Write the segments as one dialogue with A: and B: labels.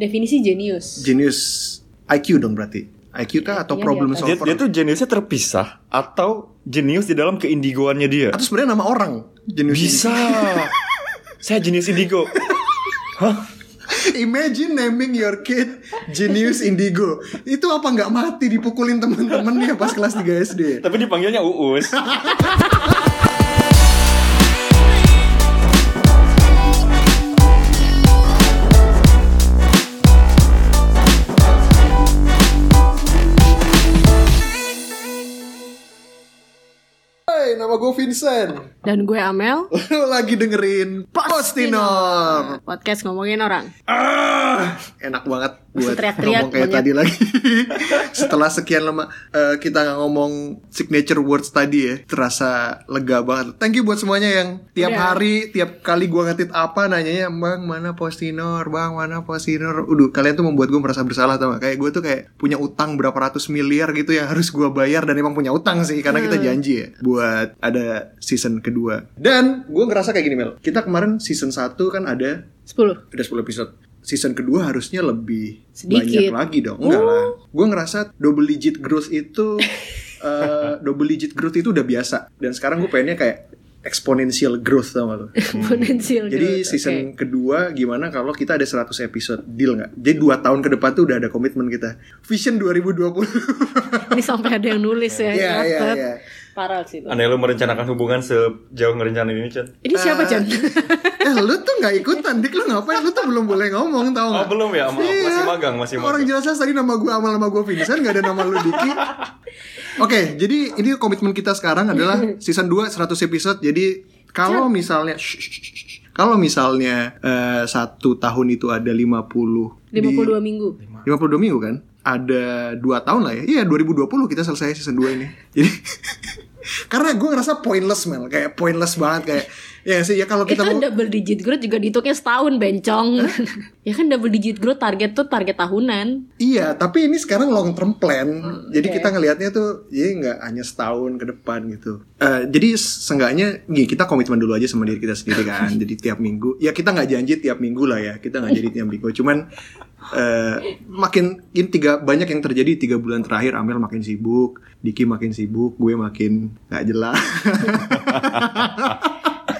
A: Definisi jenius.
B: Genius IQ dong berarti. IQ kah atau
A: Iya, di
B: problem
A: atas.
B: solver?
C: Dia, dia tuh jeniusnya terpisah atau jenius di dalam keindigoannya dia?
B: Atau sebenarnya nama orang Genius
C: Bisa. Saya jenius indigo.
B: Imagine naming your kid Genius Indigo. Itu apa nggak mati dipukulin temen-temennya pas kelas 3 SD?
C: Tapi dipanggilnya Uus.
B: Hai, nama gue Vincent.
A: Dan gue Amel,
B: Lo lagi dengerin Postinor.
A: podcast ngomongin orang.
C: Ah.
B: Enak banget buat
A: Teriak-teriak
B: ngomong kayak
A: monyet.
B: tadi lagi. Setelah sekian lama eh, kita nggak ngomong signature words tadi ya, terasa lega banget. Thank you buat semuanya yang tiap
A: Udah.
B: hari, tiap kali gua ngetit apa nanyanya, "Bang, mana Postinor? Bang, mana Postinor?" Udah, kalian tuh membuat gue merasa bersalah tau gak? Kayak gue tuh kayak punya utang berapa ratus miliar gitu yang harus gua bayar dan emang punya utang sih karena kita janji ya buat ada season kedua. Dan gue ngerasa kayak gini Mel. Kita kemarin season 1 kan ada
A: 10.
B: udah 10 episode season kedua harusnya lebih banyak
A: Sedikit.
B: lagi dong enggak lah gue ngerasa double digit growth itu eh, double digit growth itu udah biasa dan sekarang gue pengennya kayak exponential growth tau gak lo
A: Exponential
B: Hmm. jadi
A: growth,
B: season kedua gimana kalau kita ada 100 episode deal nggak jadi 2 tahun ke depan tuh udah ada komitmen kita vision 2020
A: oke. Ini sampai ada yang nulis ya.
B: Iya, iya,
A: catat.
B: iya.
A: Parah sih. itu.
C: Aneh lu merencanakan hubungan sejauh ngerencanain ini, Chan.
A: Ini siapa, Chan?
B: eh lu tuh nggak ikutan dik lu ngapain lu tuh belum boleh ngomong tau
C: Oh,
B: nggak?
C: belum ya? Maaf,
B: Iya.
C: masih magang, masih
B: Orang
C: magang.
B: jelas-jelas tadi nama gue Amal nama gue Vincent Gak ada nama lu Diki Oke jadi ini komitmen kita sekarang adalah Season 2 100 episode Jadi kalau misalnya shh, shh, shh, shh. Kalau misalnya eh, Satu tahun itu ada
A: 52
B: 50
A: minggu.
B: di, 52 minggu kan Ada 2 tahun lah ya Iya 2020 kita selesai season 2 ini Jadi Karena gue ngerasa pointless Mel Kayak pointless banget Kayak Ya sih ya kalau
A: Itu
B: kita mau
A: double digit growth juga dihitungnya setahun, bencong. ya kan double digit growth target tuh target tahunan.
B: Iya, tapi ini sekarang long term plan. jadi
A: oke.
B: kita ngelihatnya tuh ya nggak hanya setahun ke depan gitu. Eh, jadi seenggaknya gini, kita komitmen dulu aja sama diri kita sendiri kan. jadi tiap minggu ya kita nggak janji tiap minggu lah ya. Kita nggak jadi tiap minggu. Cuman eh, makin ini tiga banyak yang terjadi tiga bulan terakhir Amel makin sibuk, Diki makin sibuk, gue makin nggak jelas.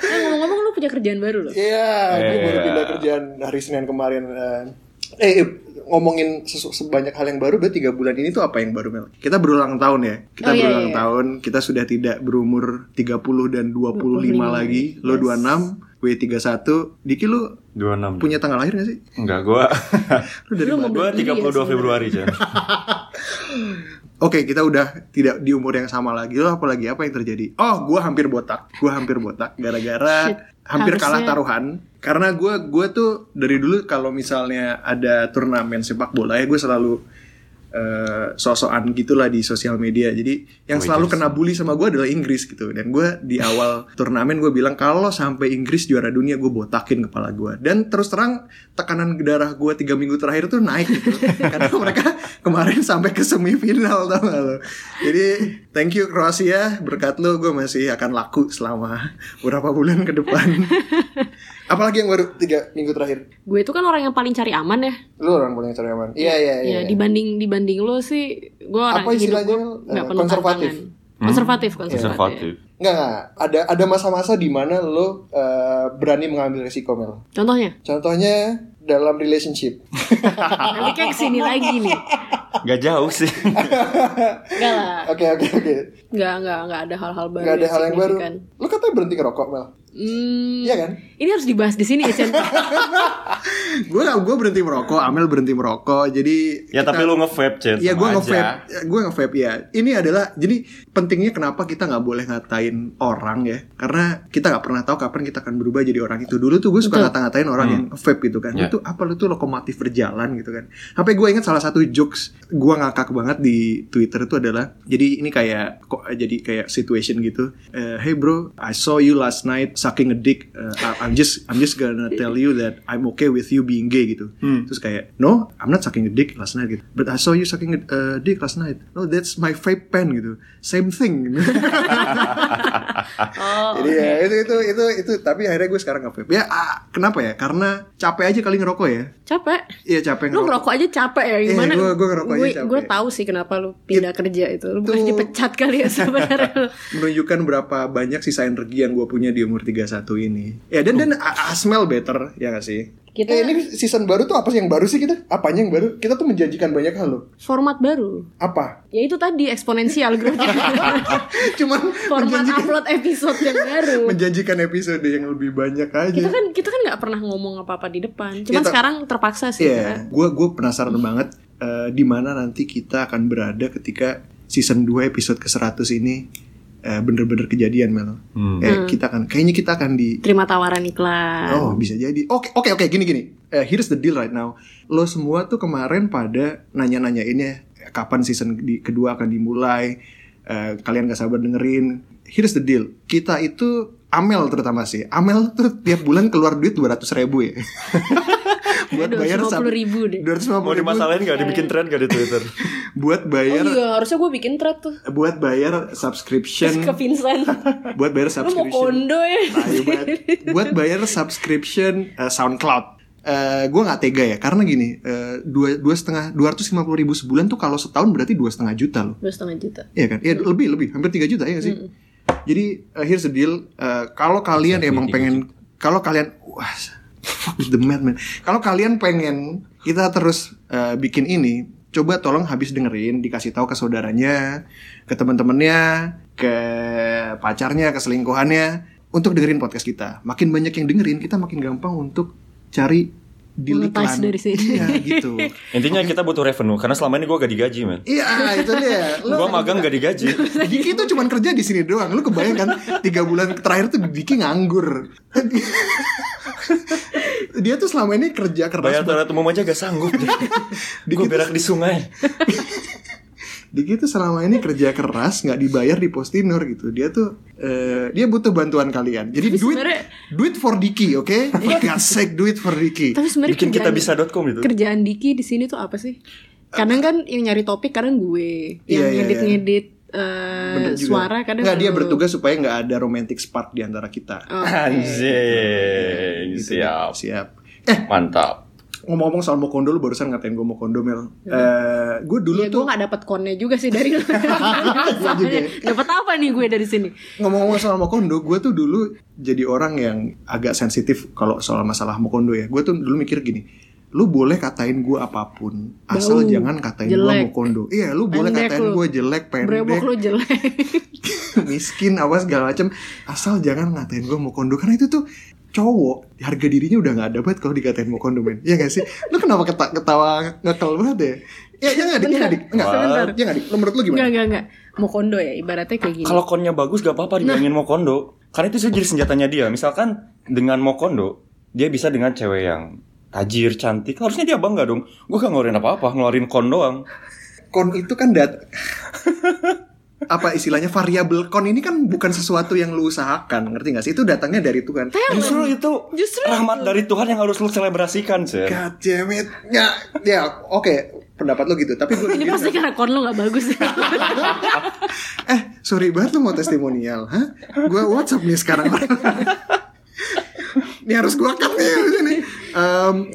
A: Eh, ngomong-ngomong lu punya kerjaan baru loh.
B: Iya, gue baru
C: Iya.
B: pindah kerjaan hari Senin kemarin. eh. Eh, eh, ngomongin sesu- sebanyak hal yang baru, berarti tiga bulan ini tuh apa yang baru, Mel? Kita berulang tahun ya. Kita
A: Oh, iya,
B: berulang
A: iya.
B: tahun, kita sudah tidak berumur 30 dan 25,
A: 25
B: lagi. Lo
A: Yes.
B: 26, gue 31. Diki lu
C: 26.
B: punya tanggal lahir gak sih?
C: Enggak, gua.
B: Lu dari
A: Lu
B: mana?
A: mau-
C: gua
A: Bunuh diri
C: 32
A: ya,
C: Februari, Chan.
B: Oke, kita udah tidak di umur yang sama lagi. Lo apalagi apa yang terjadi? Oh, gue hampir botak. Gue hampir botak
A: Shit.
B: gara-gara hampir
A: Harusnya-
B: kalah taruhan. Karena gue gue tuh dari dulu kalau misalnya ada turnamen sepak bola ya gue selalu eh, sosokan gitulah di sosial media. Jadi yang
C: Oh,
B: selalu
C: iya.
B: kena bully sama gue adalah Inggris gitu. Dan gue di awal turnamen gue bilang kalau sampai Inggris juara dunia gue botakin kepala gue. Dan terus terang tekanan darah gue tiga minggu terakhir tuh naik gitu. Karena mereka kemarin sampai ke semifinal tau gak lo. Jadi thank you Kroasia berkat lo gue masih akan laku selama berapa bulan ke depan. Apalagi yang baru tiga minggu terakhir.
A: Gue itu kan orang yang paling cari aman ya.
B: Lu orang paling cari aman. Iya iya
A: Ya, dibanding dibanding lu sih, gue orang
B: Apa
A: hidup
B: istilahnya,
A: gua nggak
B: eh,
A: penuh
B: konservatif? Hmm. Iya.
A: tantangan. Konservatif, konservatif.
C: Konservatif.
B: Nggak, nggak. ada ada masa-masa di mana lo eh, berani mengambil resiko Mel.
A: Contohnya,
B: Contohnya dalam relationship.
A: nanti kayak kesini lagi nih.
C: Gak jauh sih.
A: Enggak lah,
B: Oke oke oke.
A: enggak enggak enggak ada hal-hal baru.
B: Nggak ada
A: yang
B: hal yang baru.
A: signifikan.
B: Lo katanya berhenti ngerokok Mel.
A: Hmm,
B: Iya kan?
A: Ini harus dibahas di sini ya, Chan.
B: Gue gue berhenti merokok, Amel berhenti merokok. Jadi
C: ya, tapi lu nge-vape, Chan.
B: Iya gue
C: sama
B: nge-vape
C: aja.
B: Ya, Gue nge-vape ya Ini adalah Jadi pentingnya kenapa kita nggak boleh ngatain orang ya Karena kita nggak pernah tahu kapan kita akan berubah jadi orang itu Dulu tuh gue suka
A: Betul.
B: ngata-ngatain orang yang nge-vape gitu kan
C: Ya.
B: Itu apa lu tuh lokomotif berjalan gitu kan Sampai gue inget salah satu jokes Gue ngakak banget di Twitter itu adalah Jadi ini kayak kok Jadi kayak situation gitu Eh, Hey bro I saw you last night sucking a dick Eh, I- I'm I'm just I'm just gonna tell you that I'm okay with you being gay gitu. Terus kayak no, I'm not sucking a dick last night gitu. But I saw you sucking a a dick last night. No, that's my vape pen gitu. Same thing.
A: Oh,
B: Jadi ya itu itu itu itu tapi akhirnya gue sekarang nggak vape. Ya ah, kenapa ya? Karena capek aja kali ngerokok ya.
A: capek.
B: Iya capek
A: Lu ngerokok aja capek ya gimana?
B: Iya, gua- gua ngerokok aja
A: Gua-
B: capek.
A: gua tahu sih kenapa lu pindah kerja itu. Lu bukan
B: Itu-
A: dipecat kali ya sebenarnya. lu.
B: menunjukkan berapa banyak sisa energi yang gue punya di umur 31 ini. Ya dan dan I, I smell better ya gak sih?
A: Kita-
B: Eh, ini season baru tuh apa sih yang baru sih kita? Apanya yang baru? Kita tuh menjanjikan banyak hal loh.
A: Format baru.
B: Apa?
A: Ya itu tadi eksponensial growth.
B: Cuman
A: Format
B: menjanjikan,
A: upload episode yang baru.
B: menjanjikan episode yang lebih banyak
A: Kita
B: aja.
A: kan kita kan nggak pernah ngomong apa-apa di depan.
B: Ya,
A: Cuman
B: ta-
A: sekarang terpaksa sih.
B: Iya, gue gue penasaran banget eh, di mana nanti kita akan berada ketika season 2 episode ke 100 ini eh, bener-bener kejadian Mel.
C: Hmm.
B: Eh, kita akan kayaknya kita akan di
A: kan. Terima tawaran iklan.
B: Oh bisa jadi. Oke oke oke gini gini. Eh, here's the deal right now. Lo semua tuh kemarin pada nanya-nanyainnya eh, kapan season di- kedua akan dimulai. Eh, kalian gak sabar dengerin. Here's the deal. Kita itu Amel terutama sih. Amel tuh tiap bulan keluar duit 200 ribu ya. buat bayar sab-
A: 250 ribu deh. iya.
B: 250
C: Mau
B: ribu
C: dimasalahin gak? Dibikin tren gak di Twitter?
B: buat
A: Oh
B: bayar
A: iya, harusnya gue bikin thread tuh.
B: buat
A: Terus
B: bayar
A: ke
B: subscription
A: Vincent.
B: buat bayar
A: Lu mau
B: subscription
A: kondo ya?
B: Ayo banget. buat bayar subscription eh, SoundCloud. Eh gue nggak tega ya karena gini eh, dua dua setengah dua ratus lima puluh ribu sebulan tuh kalau setahun berarti dua setengah juta loh
A: Dua setengah juta.
B: Iya kan ya lebih lebih hampir 3 juta ya nggak sih
A: Hmm.
B: jadi eh, here's the deal Eh, kalau kalian emang pengen kalau kalian wah fuck with the man man. kalau kalian pengen kita terus eh, bikin ini coba tolong habis dengerin dikasih tahu ke saudaranya ke teman-temannya ke pacarnya ke selingkuhannya untuk dengerin podcast kita makin banyak yang dengerin kita makin gampang untuk cari di
A: Monetize dari sini.
B: Iya gitu
C: Intinya kita butuh revenue karena selama ini gue gak digaji man.
B: Iya itu dia Lu-
C: Gue magang gak digaji.
B: Diki tuh cuman kerja di sini doang. Lu kebayang kan tiga bulan terakhir tuh Diki nganggur. Dia tuh selama ini kerja keras.
C: Bayar toilet umum aja gak sanggup. gue
B: Dikit-
C: berak di sungai.
B: Diki tuh selama ini kerja keras nggak dibayar di Postinor gitu. Dia tuh eh, dia butuh bantuan kalian. Jadi duit
A: sebenarnya-
B: duit for Diki, oke? For God's sake, duit for Diki.
A: Tapi sebenarnya
C: Bikin kita
A: kerjaan-
C: bisa.com
B: gitu.
C: itu.
A: kerjaan Diki di sini tuh apa sih? Kadang kan yang nyari topik kadang gue, yang
B: Iya, iya,
A: ngedit-ngedit eh,
B: Bener juga.
A: suara kadang
B: Nggak, dia
A: lu.
B: bertugas supaya nggak ada romantic spark di antara kita.
A: Oh,
C: Anjing,
B: Gitu deh.
C: siap,
B: Siap. Eh,
C: mantap.
B: Ngomong-ngomong soal Mokondo, lu barusan ngatain gue Mokondo, Mel. Eh, gue dulu
A: Iya,
B: tuh Iya ya.
A: gue gak dapet konnya juga sih dari lu. Masalahnya, Dapet apa nih gue dari sini?
B: Ngomong-ngomong soal Mokondo, gue tuh dulu jadi orang yang agak sensitif kalau soal masalah Mokondo ya. Gue tuh dulu mikir gini, lu boleh katain gue apapun, asal
A: Bau,
B: jangan katain gue
A: jelek.
B: Mokondo. Iya, lu boleh
A: Pendek
B: katain
A: lu.
B: gue jelek,
A: Brebok
B: pendek,
A: lu jelek.
B: miskin, apa segala macem. Asal jangan ngatain gue Mokondo, karena itu tuh cowok harga dirinya udah nggak ada banget kalau dikatain Mokondo men Iya gak sih? Lu kenapa keta- ketawa ngekel banget ya? Iya, iya nggak dik, iya nggak dik, Nggak.
A: Sebentar.
B: Iya nggak dik, Lu menurut lu
A: Enggak,
B: gimana?
A: enggak, enggak. Mau kondo ya, ibaratnya kayak gini.
C: Kalau konnya bagus gak apa-apa dibilangin
A: Nah.
C: mau kondo. Karena itu jadi senjatanya dia. Misalkan dengan mau kondo, dia bisa dengan cewek yang tajir, cantik. Harusnya dia bangga dong. Gue gak ngeluarin apa-apa, ngeluarin kon doang.
B: kon itu kan dat apa istilahnya variabel kon ini kan bukan sesuatu yang lu usahakan ngerti gak sih itu datangnya dari Tuhan
C: Justru itu
A: Iya, Justru
C: rahmat
A: itu.
C: dari Tuhan yang harus lu selebrasikan, Sir.
B: God damn it ya ya oke pendapat lu gitu tapi gue
A: Ini pasti karena kon lu gak bagus.
B: eh sorry banget lu mau testimonial hah gue WhatsApp nih sekarang ini harus gue cut nih abis ini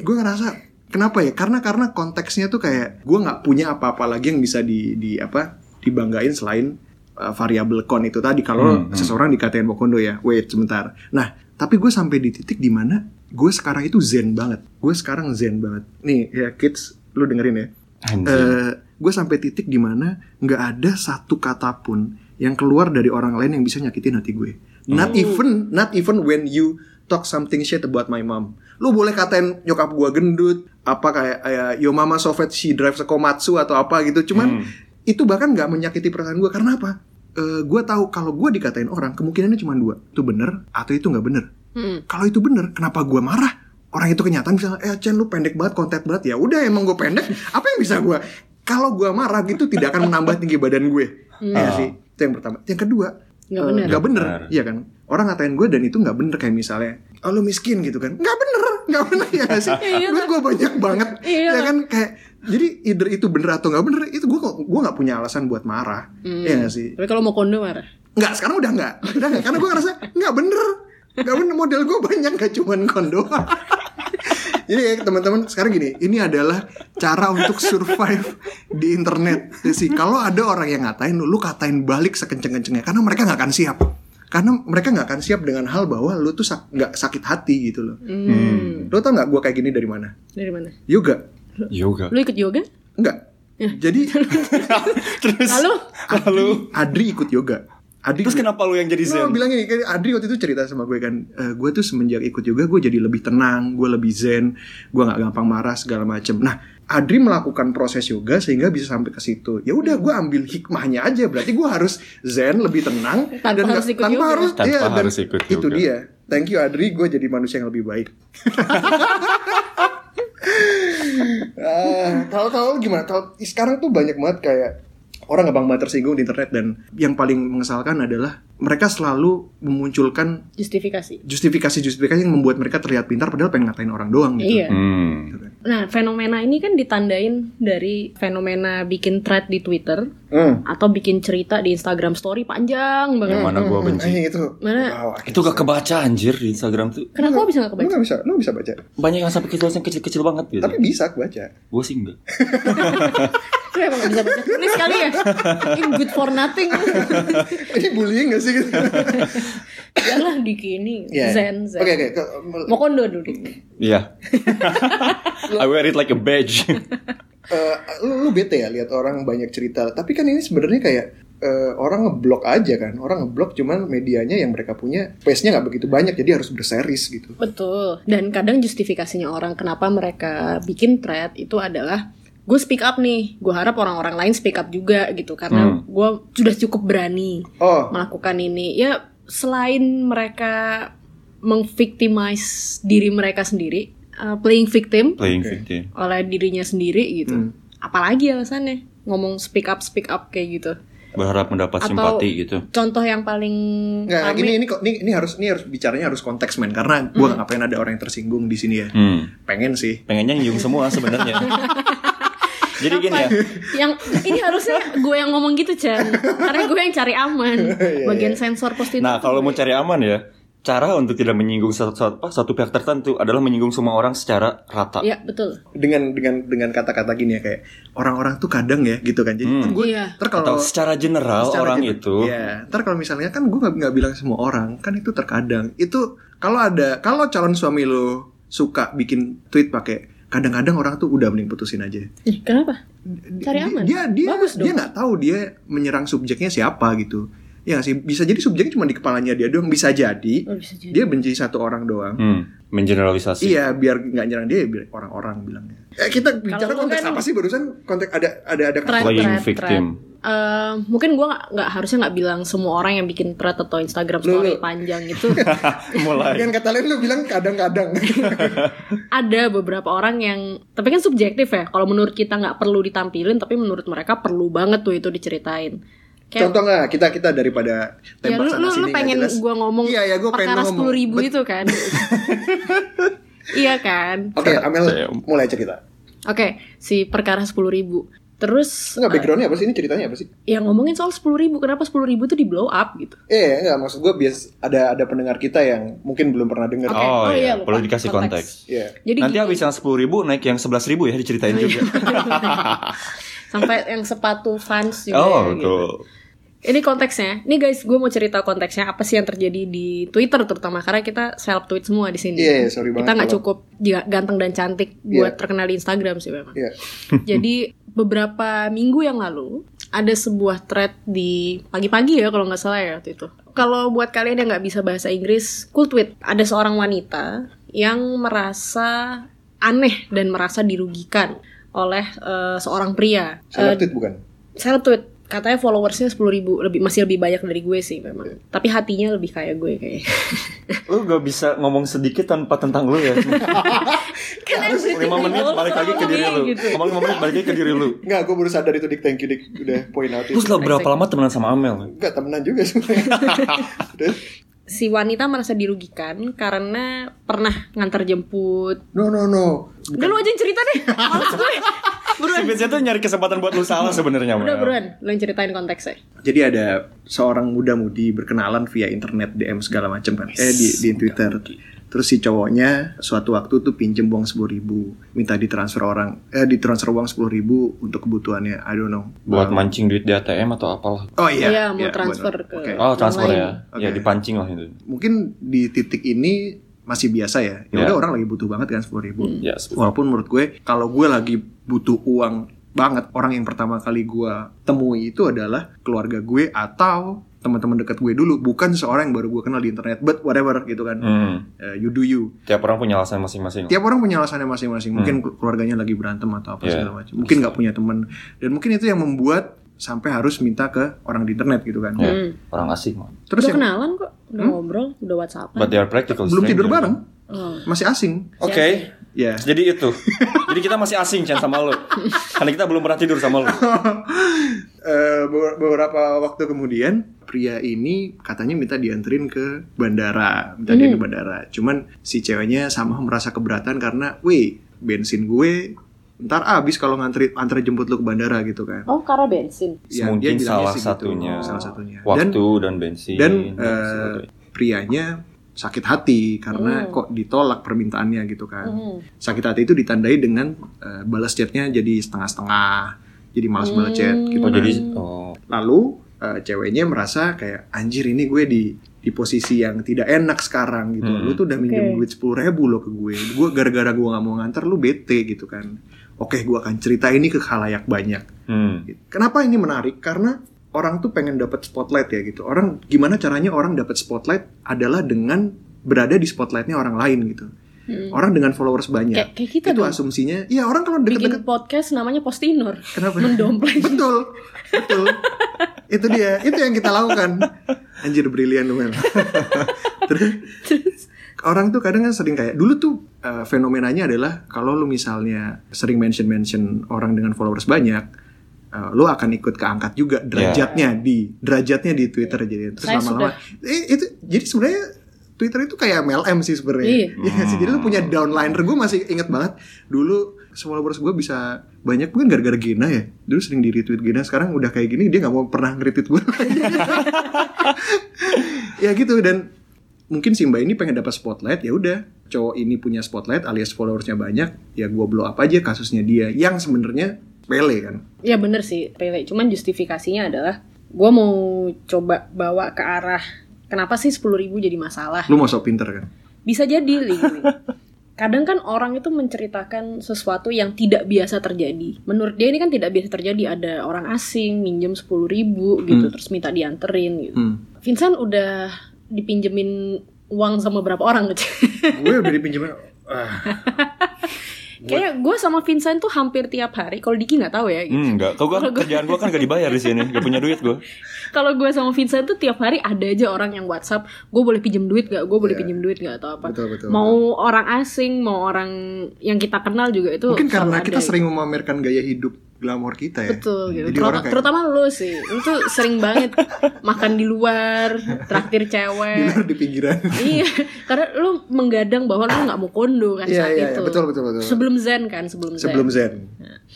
B: gue ngerasa kenapa ya karena karena konteksnya tuh kayak gue nggak punya apa-apa lagi yang bisa di di apa dibanggain selain uh, variabel kon itu tadi kalau
C: Hmm, hmm.
B: seseorang dikatain Bokondo ya wait sebentar nah tapi gue sampai di titik di mana gue sekarang itu zen banget gue sekarang zen banget nih ya kids lu dengerin ya
C: Anjing.
A: Eh,
B: gue sampai titik di mana nggak ada satu kata pun yang keluar dari orang lain yang bisa nyakitin hati gue. Not even not even when you talk something shit about my mom. Lu boleh katain nyokap gue gendut, apa kayak eh, yo mama so fat she drives a komatsu atau apa gitu.
C: Hmm.
B: Cuman itu bahkan nggak menyakiti perasaan gue karena apa? gue tahu kalau gue dikatain orang kemungkinannya cuma dua, itu bener atau itu nggak bener
A: Hmm.
B: kalau itu bener kenapa gue marah orang itu kenyataan misalnya eh Chen lu pendek banget konten banget ya udah emang gue pendek apa yang bisa gue kalau gue marah gitu tidak akan menambah tinggi badan gue Iya sih itu yang pertama yang kedua
A: Hmm. Oh. Nggak
B: eh,
A: bener.
B: nggak bener
C: Bener.
B: iya kan orang ngatain gue dan itu nggak bener kayak misalnya oh lu miskin gitu kan nggak bener nggak bener ya nggak sih
A: Iya,
B: Duit gue banyak banget
A: Iya.
B: ya kan kayak jadi either itu bener atau nggak bener itu gue kok- gue nggak punya alasan buat marah
A: Hmm.
B: ya nggak sih
A: Tapi kalau mau kondo marah.
B: nggak sekarang udah nggak udah nggak karena gue ngerasa nggak bener nggak bener model gue banyak gak cuman kondo jadi ya teman-teman sekarang gini ini adalah cara untuk survive di internet Ya sih kalau ada orang yang ngatain lu lu katain balik sekenceng-kencengnya karena mereka nggak akan siap karena mereka nggak akan siap dengan hal bahwa lu tuh sak- nggak sakit hati gitu loh
A: Hmm.
B: lu tau nggak gue kayak gini dari mana
A: Dari mana?
B: yoga
C: Yoga.
A: Lu ikut yoga?
B: kan? nggak jadi
C: Terus
A: Lalu?
C: lalu
B: Adri ikut yoga Adri
C: terus kenapa lu yang jadi
B: No,
C: zen?
B: bilang gini, kayak Adri waktu itu cerita sama gue kan, "Eh, gue tuh semenjak ikut yoga gue jadi lebih tenang, gue lebih zen, gue nggak gampang marah segala macem. Nah, Adri melakukan proses yoga sehingga bisa sampai ke situ. Ya udah, gue ambil hikmahnya aja. Berarti gue harus zen, lebih tenang,
A: Tanpa harus
B: nggak-
A: ikut
B: tanpa
A: yoga.
B: harus,
C: Tanpa
B: iya, dan
C: harus ikut
B: itu
C: yoga.
B: dia. Thank you Adri, gue jadi manusia yang lebih baik. Ah, Tahu-tahu gimana? Tahu sekarang tuh banyak banget kayak orang gampang banget tersinggung di internet dan yang paling mengesalkan adalah mereka selalu memunculkan
A: Justifikasi.
B: justifikasi-justifikasi yang membuat mereka terlihat pintar padahal pengen ngatain orang doang gitu.
A: Iya.
C: Hmm.
A: Nah, fenomena ini kan ditandain dari fenomena bikin thread di Twitter
B: Hmm.
A: atau bikin cerita di Instagram story panjang
C: Yang
A: banget.
C: mana gua benci.
B: Eh, itu.
A: Mana-
B: Wow,
C: Itu gak kebaca anjir di Instagram tuh.
A: Kenapa bisa gak
B: Lu
A: kebaca?
B: gak bisa, lu bisa baca.
C: Banyak yang sampai kecil kecil-kecil banget gitu.
B: Tapi bisa aku baca.
C: Gue sih enggak.
A: Lu emang gak bisa baca tulis kali ya? Ini good for nothing.
B: Ini bullying gak sih? Gitu?
A: Yalah dikini.
B: Iya.
A: Zen, zen.
B: Oke, oke. Ke-
A: Mau kondo dulu.
C: Iya. I wear it like a badge.
B: Eh, lu, lu bete ya lihat orang banyak cerita tapi kan ini sebenarnya kayak eh, orang ngeblok aja kan orang ngeblok cuman medianya yang mereka punya space-nya nggak begitu banyak jadi harus berseris gitu
A: Betul. Dan kadang justifikasinya orang kenapa mereka bikin thread itu adalah gue speak up nih. Gue harap orang-orang lain speak up juga gitu karena
C: Hmm.
A: gue sudah cukup berani
B: oh
A: melakukan ini. Ya selain mereka mengviktimize diri mereka sendiri, uh, playing victim
C: Playing
B: Oke.
C: victim.
A: oleh dirinya sendiri gitu.
B: Hmm.
A: Apalagi alasannya ngomong speak up speak up kayak gitu.
C: Berharap mendapat
A: Atau-
C: simpati gitu.
A: Contoh yang paling
B: nggak
A: rame-
B: gini ini kok ini, ini harus ini harus bicaranya harus konteks men karena gua nggak pengen ada orang yang tersinggung di sini ya
C: Hmm.
B: pengen sih
C: Pengennya nyium semua sebenarnya. Jadi gini ya.
A: Apa? Yang ini harusnya gue yang ngomong gitu, Chan. Karena gue yang cari aman.
B: Iya,
A: Bagian sensor postingan.
C: Nah, kalau mau cari aman ya, cara untuk tidak menyinggung satu, satu, apa, satu pihak tertentu adalah menyinggung semua orang secara rata.
A: Iya, betul.
B: dengan dengan dengan kata-kata gini ya kayak orang-orang tuh kadang ya gitu kan jadi
C: Hmm.
B: kan gue
A: Iya.
B: ntar
C: Atau
B: kalau
C: secara general
B: Secara
C: orang
B: gen-
C: itu.
B: Iya. Ntar kalau misalnya kan gue nggak nggak bilang semua orang, kan itu terkadang. Itu kalau ada kalau calon suami lo suka bikin tweet pakai kadang-kadang orang tuh udah mending putusin aja.
A: Ih, kenapa?
B: Di-
A: Cari
B: di-
A: aman.
B: Dia dia
A: Bagus dong.
B: dia nggak tahu dia menyerang subjeknya siapa gitu. Ya nggak sih bisa jadi subjeknya cuma di kepalanya dia doang bisa jadi
A: Oh, bisa jadi.
B: dia benci satu orang doang.
C: Hmm, mengeneralisasi.
B: Iya, biar nggak nyerang dia biar orang-orang bilangnya. Eh, kita bicara
A: lu
B: konteks
A: kan-
B: apa sih barusan konteks ada ada ada
A: Thread,
C: Playing
A: thread,
C: victim.
A: thread. Eh, mungkin gue nggak nggak- harusnya nggak bilang semua orang yang bikin thread atau Instagram
B: Lu-
A: story
B: lu.
A: panjang gitu. itu
C: Mulai.
B: dengan kata lain lu bilang kadang-kadang.
A: ada beberapa orang yang tapi kan subjektif ya kalau menurut kita nggak perlu ditampilin tapi menurut mereka perlu banget tuh itu diceritain kayak
B: Contoh nggak kita kita daripada
A: ya
B: tembak
A: lu
B: sana
A: lu, lu
B: sini nggak
A: pengen
B: jelas.
A: gue ngomong
B: Iya, ya, gua pengen
A: perkara
B: ngomong.
A: sepuluh ribu
B: Bet-
A: itu kan iya kan
B: Oke, Amel
C: Saya-
B: mulai cerita.
A: oke si perkara sepuluh ribu terus
B: Enggak backgroundnya apa sih ini ceritanya apa sih?
A: yang ngomongin soal sepuluh ribu kenapa sepuluh ribu itu di blow up gitu
B: Eh enggak maksud gue bias ada ada pendengar kita yang mungkin belum pernah dengar.
A: Oke. Oh, iya,
C: Oh, iya,
A: lupa.
C: perlu dikasih
A: Konteks.
C: konteks.
B: Iya.
A: jadi
C: Nanti
A: gini,
C: habis yang sepuluh ribu naik yang sebelas ribu ya diceritain
A: Iya.
C: juga.
A: sampai yang sepatu fans juga ya, gitu.
C: oh betul.
A: ini konteksnya ini guys gue mau cerita konteksnya apa sih yang terjadi di Twitter terutama karena kita self tweet semua di sini
B: Iya, iya, sorry banget
A: kita nggak
B: kalau-
A: cukup juga ganteng dan cantik buat
B: Iya.
A: terkenal di Instagram sih memang
B: Iya.
A: Jadi beberapa minggu yang lalu ada sebuah thread di pagi-pagi ya kalau nggak salah ya waktu itu. Kalau buat kalian yang nggak bisa bahasa Inggris, cool tweet. Ada seorang wanita yang merasa aneh dan merasa dirugikan oleh eh, seorang pria.
B: Saya
A: Eh,
B: tweet bukan.
A: Seleb tweet katanya followersnya 10.000 ribu lebih masih lebih banyak dari gue sih memang. Tapi hatinya lebih kayak gue kayak.
C: Lu gak bisa ngomong sedikit tanpa tentang lu ya. Lima menit balik lagi ke diri lu.
A: gitu.
C: Ngomong lima menit balik lagi ke diri lu.
B: Enggak, gue baru sadar itu Dik. Thank you Dik udah point out
C: Terus
B: itu.
C: lo berapa lama temenan sama Amel?
B: Enggak temenan juga sebenarnya. Terus,
A: si wanita merasa dirugikan karena pernah ngantar jemput.
B: No no no.
A: Udah lu aja yang cerita deh. Males gue. Buruan.
C: Si Vincent tuh nyari kesempatan buat lu salah sebenarnya.
A: Ah, Udah
C: Mel.
A: buruan, lu yang ceritain konteksnya.
B: Jadi ada seorang muda-mudi berkenalan via internet DM segala macam kan. Eh di, di Twitter. Terus si cowoknya suatu waktu tuh pinjem uang sepuluh ribu, minta ditransfer orang, eh ditransfer uang sepuluh ribu untuk kebutuhannya. I don't know.
C: Buat
B: Um,
C: mancing duit di ATM atau apalah.
B: Oh iya.
A: Iya, mau
B: iya,
A: transfer
B: buat-
A: ke-
B: Oke.
C: Oh transfer
A: Online.
C: ya. Ya
B: Oke.
C: dipancing lah itu.
B: Mungkin di titik ini masih biasa ya. Ya udah
C: Iya.
B: orang lagi butuh banget kan sepuluh ribu.
C: Ya.
B: Walaupun menurut gue kalau gue lagi butuh uang banget orang yang pertama kali gue temui itu adalah keluarga gue atau teman-teman dekat gue dulu bukan seorang yang baru gue kenal di internet but whatever gitu kan
C: Hmm.
B: Eh, you do you
C: Tiap orang punya alasan masing-masing.
B: tiap orang punya alasannya masing-masing mungkin keluarganya lagi berantem atau apa
C: Hmm. Yeah.
B: segala macam mungkin nggak punya teman dan mungkin itu yang membuat sampai harus minta ke orang di internet gitu kan
C: Ya.
A: Hmm.
C: Orang asing. mah.
B: terus
A: udah
B: yang Hmm?
A: kenalan kok, udah ngobrol, udah WhatsApp.
C: But they are practical.
B: belum tidur
C: stranger.
B: bareng
A: Oh.
B: masih asing
C: Oke.
B: ya
C: Jadi itu. Jadi kita masih asing Chan sama lu. Karena kita belum pernah tidur sama lu.
B: Eh, be- beberapa waktu kemudian pria ini katanya minta dianterin ke bandara, minta
A: Hmm.
B: dia ke bandara. Cuman si ceweknya sama merasa keberatan karena, weh bensin gue ntar habis kalau ngantri antar jemput lu ke bandara gitu kan.
A: Oh, karena bensin.
B: Ya,
C: Mungkin
B: bilangnya
C: salah
B: sih gitu.
C: satunya.
B: salah satunya. Dan
C: Waktu dan, bensin.
B: dan eh,
C: dan sebagainya.
B: prianya sakit hati karena
A: Hmm.
B: kok ditolak permintaannya gitu kan.
A: Hmm.
B: Sakit hati itu ditandai dengan eh, balas chatnya jadi setengah-setengah, jadi malas balas chat
A: Hmm.
B: gitu.
C: Oh
B: kan.
C: jadi oh.
B: lalu eh, ceweknya merasa kayak anjir ini gue di di posisi yang tidak enak sekarang gitu
C: Hmm.
B: lu tuh udah minjem
A: Oke.
B: duit sepuluh ribu lo ke gue gue gara-gara gue nggak mau nganter lu bete gitu kan oke gue akan cerita ini ke khalayak banyak
C: Hmm.
B: gitu. kenapa ini menarik karena orang tuh pengen dapat spotlight ya gitu orang gimana caranya orang dapat spotlight adalah dengan berada di spotlightnya orang lain gitu
A: Hmm.
B: orang dengan followers banyak
A: Kayak kayak kita
B: itu
A: dong.
B: asumsinya iya orang kalau
A: Bikin
B: deket-deket
A: podcast namanya Postinor.
B: Kenapa?
A: Mendompleng.
B: Betul, betul. itu dia, itu yang kita lakukan. Anjir brilian lu Mel. Terus
A: Terus
B: orang tuh kadang kan sering kayak dulu tuh eh, fenomenanya adalah kalau lu misalnya sering mention-mention orang dengan followers banyak, eh, lu akan ikut keangkat juga derajatnya di derajatnya di Twitter jadi terus
A: Saya
B: lama-lama eh, itu jadi sebenarnya Twitter itu kayak MLM sih sebenarnya.
A: Iya.
B: Iya nggak sih? Jadi lu punya downliner gue masih inget banget dulu followers gue bisa banyak mungkin gara-gara Gina ya. Dulu sering di retweet Gina, sekarang udah kayak gini dia nggak mau pernah nge-retweet gue. ya gitu dan mungkin si Mbak ini pengen dapat spotlight ya udah cowok ini punya spotlight alias followersnya banyak ya gue blow up aja kasusnya dia yang sebenarnya pele kan
A: ya bener sih, Pele. Cuman justifikasinya adalah gue mau coba bawa ke arah kenapa sih 10.000 ribu jadi masalah.
B: lu mau sok pinter kan
A: Bisa jadi, Li. gini. Kadang kan orang itu menceritakan sesuatu yang tidak biasa terjadi. Menurut dia ini kan tidak biasa terjadi. Ada orang asing minjem 10.000 ribu gitu,
B: Hmm.
A: terus minta dianterin gitu.
B: hmm.
A: Vincent udah dipinjemin uang sama berapa orang gitu.
B: gue udah dipinjemin ah,
A: Kayak gue sama Vincent tuh hampir tiap hari. Kalau Diki nggak tahu ya. gitu.
C: Hmm, enggak. Kau gua
A: Kalau gua-
C: kerjaan gua kan gak dibayar di sini, gak punya duit gua.
A: Kalau gue sama Vincent tuh tiap hari ada aja orang yang WhatsApp. Gue boleh pinjem duit gak? Gue boleh
B: Iya.
A: pinjem duit gak atau apa?
B: betul betul
A: Mau orang asing, mau orang yang kita kenal juga itu.
B: Mungkin
A: selalu
B: karena
A: ada
B: kita
A: gitu.
B: sering memamerkan gaya hidup glamor kita ya.
A: Betul gitu.
B: Jadi
A: Terut-
B: orang kayak
A: terutama lu sih. Lu tuh sering banget makan di luar, traktir
B: di luar
A: cewek.
B: di pinggiran.
A: iya, karena lu menggadang bahwa lu nggak mau kondo kan
B: Iya,
A: saat
B: iya, iya.
A: itu.
B: Betul, betul, betul.
A: Sebelum zen kan, sebelum zen. Ya.
B: Sebelum Zen.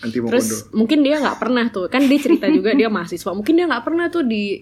B: Anti Mokondo.
A: Terus mungkin dia nggak pernah tuh. Kan dia cerita juga dia mahasiswa. Mungkin dia nggak pernah tuh di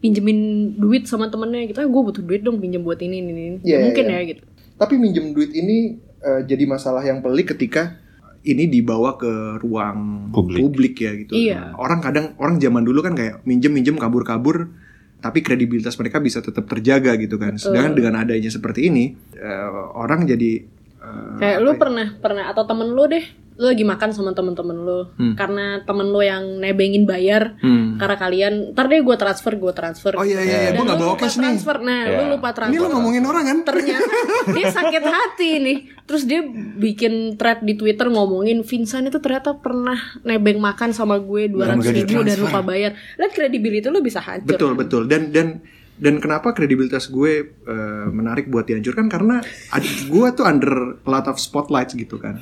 A: pinjemin duit sama temennya gitu. Ah, gue butuh duit dong pinjem buat ini ini. ini.
B: Iya,
A: mungkin
B: iya.
A: ya gitu.
B: Tapi minjem duit ini eh, jadi masalah yang pelik ketika ini dibawa ke ruang
C: Publik.
B: publik, ya gitu.
A: Iya.
B: Orang kadang orang zaman dulu kan kayak minjem-minjem kabur-kabur tapi kredibilitas mereka bisa tetap terjaga gitu kan.
A: Betul.
B: Sedangkan dengan adanya seperti ini eh, orang jadi eh,
A: Kayak lu
B: apa ya?
A: pernah pernah atau temen lu deh, lu lagi makan sama temen-temen lu
B: Hmm.
A: karena temen lu yang nebengin bayar
B: Hmm.
A: karena kalian ntar deh gue transfer gue transfer.
B: Oh iya iya, iya.
C: Dan
A: Dan
B: gue gak
A: lu
B: bawa
A: lupa
B: cash nih.
A: transfer. Nah,
C: Iya.
A: lu lupa
B: Ini
A: transfer.
B: lo ngomongin orang kan?
A: Ternyata dia sakit hati nih. Terus dia bikin thread di Twitter ngomongin Vincent itu ternyata pernah nebeng makan sama gue 200
C: nggak
A: ribu dan
B: ditransfer.
A: lupa bayar. Lihat kredibilitas lu bisa hancur.
B: Betul betul dan dan dan kenapa kredibilitas gue eh, menarik buat dihancurkan karena ad- gue tuh under a lot of spotlights gitu kan.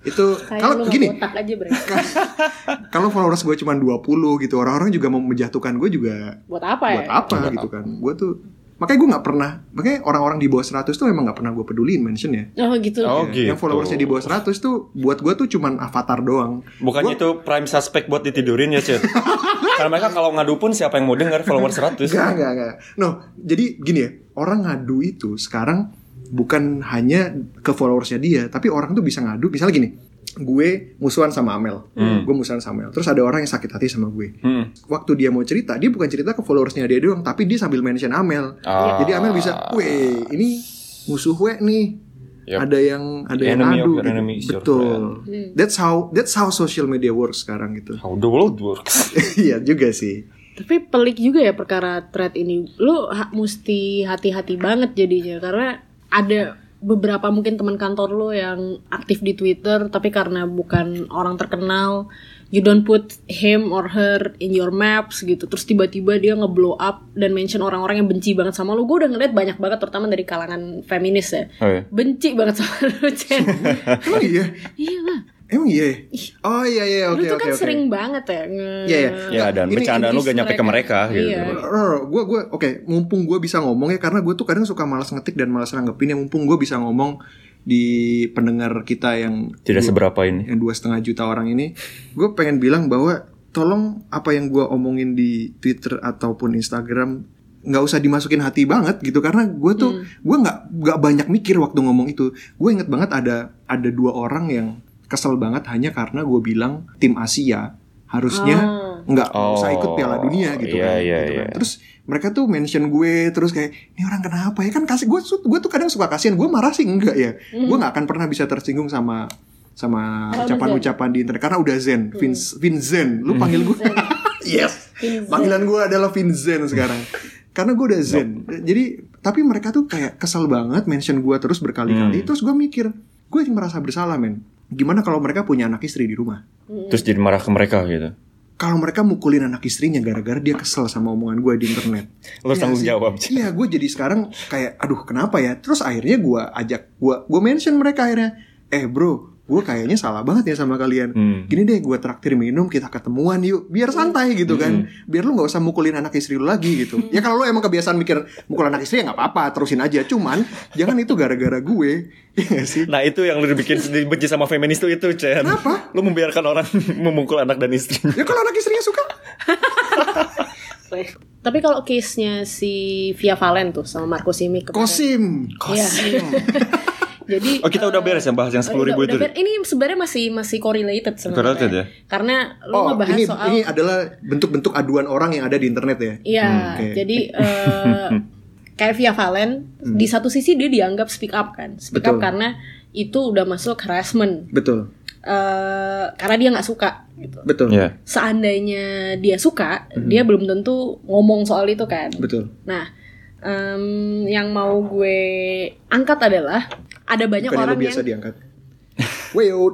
B: Itu
A: Kayak lu
B: kalau
A: nggak
B: gini,
A: botak aja bre.
B: kalau followers gue cuma 20 gitu, orang-orang juga mau menjatuhkan gue juga
A: Buat apa ya?
B: buat apa gitu kan. Gue tuh Makanya gue nggak pernah, makanya orang-orang di bawah 100 tuh emang nggak pernah gue peduliin mention ya.
A: Oh gitu.
C: Oh,
B: Ya,
C: gitu.
B: Yang followersnya di bawah 100 tuh buat gue tuh cuman avatar doang.
C: Bukannya itu prime suspect buat ditidurin ya, Cid? Karena mereka kalau ngadu pun siapa yang mau denger follower 100.
B: Enggak, enggak, enggak. No, jadi gini ya, orang ngadu itu sekarang bukan hanya ke followersnya dia, tapi orang tuh bisa ngadu. Misalnya gini, gue musuhan sama Amel,
C: Hmm.
B: gue musuhan sama Amel. Terus ada orang yang sakit hati sama gue.
C: Hmm.
B: Waktu dia mau cerita, dia bukan cerita ke followersnya dia doang, tapi dia sambil mention Amel.
C: Ah.
B: Jadi Amel bisa, weh, ini musuh we nih.
C: Yep.
B: Ada yang ada yang
C: Enemy of
B: ngadu
C: your
B: gitu.
C: enemy is your
B: Betul.
A: friend.
B: That's how that's how social media works sekarang gitu.
C: How the world works.
B: Iya juga sih.
A: Tapi pelik juga ya perkara thread ini. Lu ha- mesti hati-hati banget jadinya karena ada beberapa mungkin teman kantor lo yang aktif di Twitter tapi karena bukan orang terkenal you don't put him or her in your maps gitu terus tiba-tiba dia ngeblow up dan mention orang-orang yang benci banget sama lo gue udah ngeliat banyak banget terutama dari kalangan feminis ya
C: Oh, iya.
A: benci banget sama lo Chen
B: Emang iya.
A: iya lah
B: Emang iya. ya? Oh iya iya
A: lu
B: oke
A: tuh
B: oke
A: kan
B: oke.
A: sering banget ya nge-
B: Iya, iya.
C: Ya, dan
B: Ini
C: bercandaan lu gak nyampe ke mereka
A: mereka.
C: gitu.
A: Iya.
B: gue gue oke mumpung gue bisa ngomong ya karena gue tuh kadang suka malas ngetik dan malas nanggepin ya mumpung gue bisa ngomong di pendengar kita yang
C: Tidak seberapa ini.
B: yang dua setengah juta orang ini gue pengen bilang bahwa tolong apa yang gue omongin di Twitter ataupun Instagram nggak usah dimasukin hati banget gitu karena gue tuh gue nggak nggak banyak mikir waktu ngomong itu gue inget banget ada ada dua orang yang kesel banget hanya karena gue bilang tim Asia harusnya
A: Ah.
B: nggak
C: Oh,
B: usah ikut Piala Dunia gitu
C: iya,
B: kan,
C: iya,
B: gitu kan.
C: iya.
B: terus mereka tuh mention gue terus kayak ini orang kenapa ya kan kasih gue gue tuh kadang suka kasihan gue marah sih enggak ya gue nggak akan pernah bisa tersinggung sama sama
A: Karena
B: ucapan-ucapan di internet karena udah zen Vince Vinzen lu panggil gue yes
A: Vinzen.
B: panggilan gue adalah Vinzen sekarang karena gue udah zen jadi tapi mereka tuh kayak kesel banget mention gue terus berkali-kali terus gue mikir gue merasa bersalah men gimana kalau mereka punya anak istri di rumah
C: Terus jadi marah ke mereka gitu.
B: kalau mereka mukulin anak istrinya gara-gara dia kesel sama omongan gue di internet.
C: Lo harus
B: Iya
C: tanggung
B: sih.
C: jawab.
B: Iya, gue jadi sekarang kayak, aduh kenapa ya? Terus akhirnya gue ajak, gue gue mention mereka akhirnya, eh bro, gue kayaknya salah banget ya sama kalian.
C: Hmm.
B: Gini deh, gue traktir minum, kita ketemuan yuk, biar santai gitu
C: Hmm.
B: kan, biar lu nggak usah mukulin anak istri lu lagi gitu.
A: Hmm.
B: Ya kalau lu emang kebiasaan mikir mukul anak istri ya nggak apa-apa, terusin aja. Cuman jangan itu gara-gara gue, Iya nggak sih?
C: Nah itu yang lu bikin sedih benci sama feminis tuh itu Chen
B: Kenapa?
C: Lu membiarkan orang memukul anak dan istrinya
B: Ya kalau anak istrinya suka,
A: Tapi kalau case-nya si Via Valen tuh sama Marco Simic kemarin.
B: kosim.
A: Iya. Jadi
C: Oh kita udah beres yang bahas yang
A: eh,
C: sepuluh ribu
A: udah-
C: itu
A: udah ber- ini sebenarnya masih masih correlated sebenarnya.
C: Correlated ya?
A: Karena lu
B: Oh,
A: ngebahas
B: ini
A: soal
B: ini adalah bentuk-bentuk aduan orang yang ada di internet ya.
A: Iya,
C: Hmm,
B: oke.
A: jadi eh, kayak Via Valen di satu sisi dia dianggap speak up kan. Speak up
B: Hmm. Betul.
A: karena itu udah masuk harassment.
B: Betul,
A: Eh, karena dia nggak suka gitu.
B: betul,
C: Iya
A: Seandainya dia suka, dia belum tentu ngomong soal itu kan.
B: Hmm. betul.
A: Nah, em, yang mau gue angkat adalah ada banyak
B: Bukan yang
A: orang
B: lo biasa
A: yang
B: diangkat. Weyo,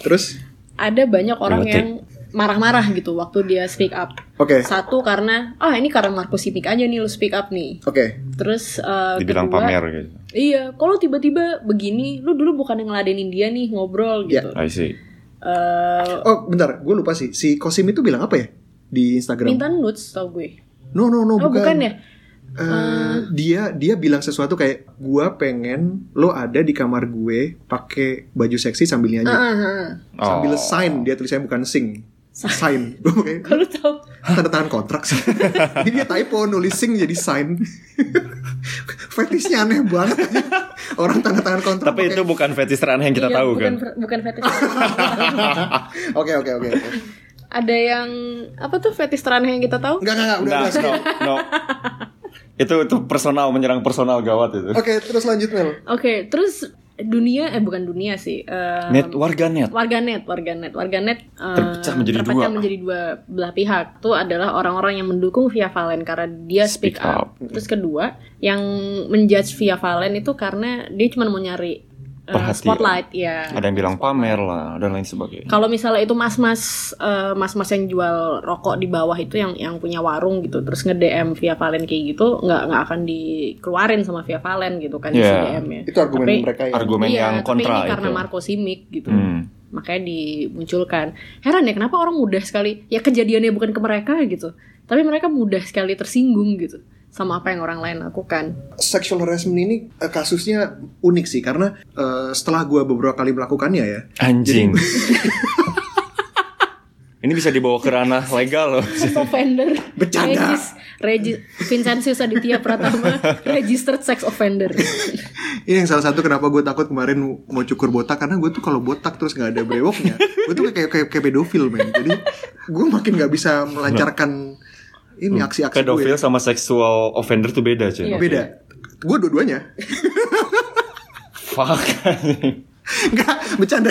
B: terus,
A: ada banyak orang
C: Relatif.
A: yang marah-marah gitu waktu dia speak up.
B: oke,
A: Satu karena ah ini karena Marco Simic aja nih lu speak up nih.
B: oke,
A: Terus eh,
C: Dibilang
A: kedua,
C: pamer gitu
A: Iya, kalau tiba-tiba begini, lu dulu bukan yang ngeladenin dia nih ngobrol
B: Ya.
A: gitu.
C: I see
A: Eh,
B: Oh, bentar, gue lupa sih. Si Kosim itu bilang apa ya di Instagram?
A: minta nudes tau gue.
B: No, no, no,
A: Oh, bukan, ya? Ah.
B: Eh, dia dia bilang sesuatu kayak gua pengen lo ada di kamar gue pakai baju seksi sambil nyanyi.
A: Ah, ah, ah.
B: Sambil
C: Oh.
B: sign, dia tulisnya bukan sing. Sign. Gua pakai-
A: Kalau lu tahu
B: tanda tangan kontrak sih. Jadi dia typo nulis sing jadi sign. Fetishnya aneh banget. Orang tanda tangan kontrak.
C: Tapi itu
B: pakai-
C: bukan fetish teraneh yang kita
A: Iya,
C: tahu
A: bukan
C: kan
A: fer- bukan fetish.
B: Oke oke oke. oke.
A: ada yang apa tuh fetish teraneh yang kita tahu?
B: Enggak enggak enggak, udah
C: Nah,
B: udah. skip.
C: no, no. Itu itu personal menyerang personal gawat itu
B: Oke terus lanjut Mel.
A: Oke, terus dunia eh bukan dunia sih. eh,
C: Net warganet
A: warganet, warganet, warganet eh,
C: Terpecah menjadi
A: terpecah
C: dua.
A: menjadi dua belah pihak. Itu adalah orang-orang yang mendukung Via Valen karena dia
C: Speak
A: speak, up. Terus kedua, yang menjudge Via Valen itu karena dia cuma mau nyari eh,
C: Perhatian.
A: spotlight ya.
C: Ada yang bilang pamer lah dan lain sebagainya
A: Kalau misalnya itu mas-mas eh, mas-mas yang jual rokok di bawah itu yang yang punya warung gitu terus nge-DM Via Valen kayak gitu nggak nggak akan dikeluarin sama Via Valen gitu kan
C: Iya.
A: di DM ya.
B: Itu argumen
A: Tapi-
B: mereka ya.
C: Argumen
A: Iya,
C: yang kontra
A: tapi ini karena
C: itu
A: Marco Simic gitu.
C: Hmm.
A: Makanya dimunculkan. Heran ya kenapa orang mudah sekali ya kejadiannya bukan ke mereka gitu. Tapi mereka mudah sekali tersinggung gitu. sama apa yang orang lain lakukan.
B: Sexual harassment ini eh, kasusnya unik sih karena eh, setelah gua beberapa kali melakukannya ya.
C: Anjing. Ini bisa dibawa ke ranah legal loh.
A: Sex offender.
B: Bercanda.
A: Regis, Regis, Vincenzius Aditya Pratama, registered sex offender.
B: Ini yang salah satu kenapa gue takut kemarin mau cukur botak karena gue tuh kalau botak terus nggak ada brewoknya, gue tuh kayak kayak, kayak pedofil men. Jadi gue makin nggak bisa melancarkan ini aksi-aksi gue.
C: Hmm. Pedofil sama sexual offender tuh beda cuy.
A: Iya.
B: Beda. Gue dua-duanya.
C: Fuck.
B: Enggak, bercanda.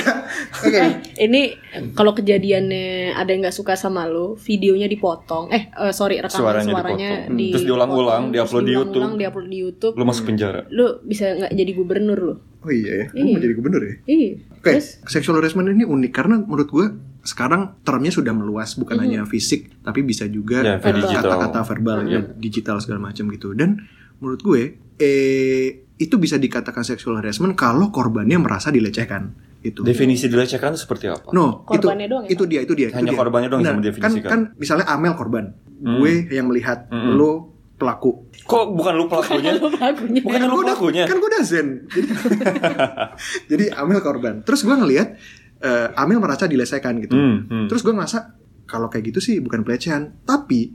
B: Oke.
A: Eh, ini kalau kejadiannya ada yang nggak suka sama lo, videonya dipotong. Eh, eh, sorry rekaman
C: Suaranya
A: suaranya,
C: dipotong. Hmm.
A: di-
C: Terus diulang-ulang,
A: dipotong,
C: diupload
A: terus
C: di
A: diulang-ulang,
C: YouTube.
A: diupload di YouTube.
C: Lu masuk penjara.
A: Lu bisa nggak jadi gubernur lo?
B: Oh iya ya, Lu mau
A: Iya.
B: jadi gubernur ya?
A: Iya.
B: Oke,
A: Terus
B: sexual harassment ini unik karena menurut gue sekarang termnya sudah meluas bukan
A: Mm-hmm.
B: hanya fisik tapi bisa juga eh,
C: Ya,
A: verbal.
B: kata-kata verbal, ya,
A: Mhm.
B: digital segala macam gitu. Dan menurut gue eh itu bisa dikatakan sexual harassment kalau korbannya merasa dilecehkan gitu.
C: Definisi dilecehkan itu seperti apa?
B: No, itu
A: Korbannya doang ya,
B: itu dia, itu dia. itu
C: Hanya
B: dia.
C: korbannya doang yang Mm-hmm.
B: Nah,
C: mendefinisikan.
B: Kan, kan misalnya Amel korban, gue yang melihat
C: Mm-mm.
B: lo pelaku.
C: Kok bukan lu pelakunya?
A: kalau lagunya
C: Bukan lu
B: Gua udah-
C: pelakunya.
B: Kan gue udah zen. Jadi, jadi Amel korban. Terus gue ngelihat eh, Amel merasa dilecehkan gitu.
C: Hmm, hmm.
B: Terus gue ngerasa kalau kayak gitu sih bukan pelecehan, tapi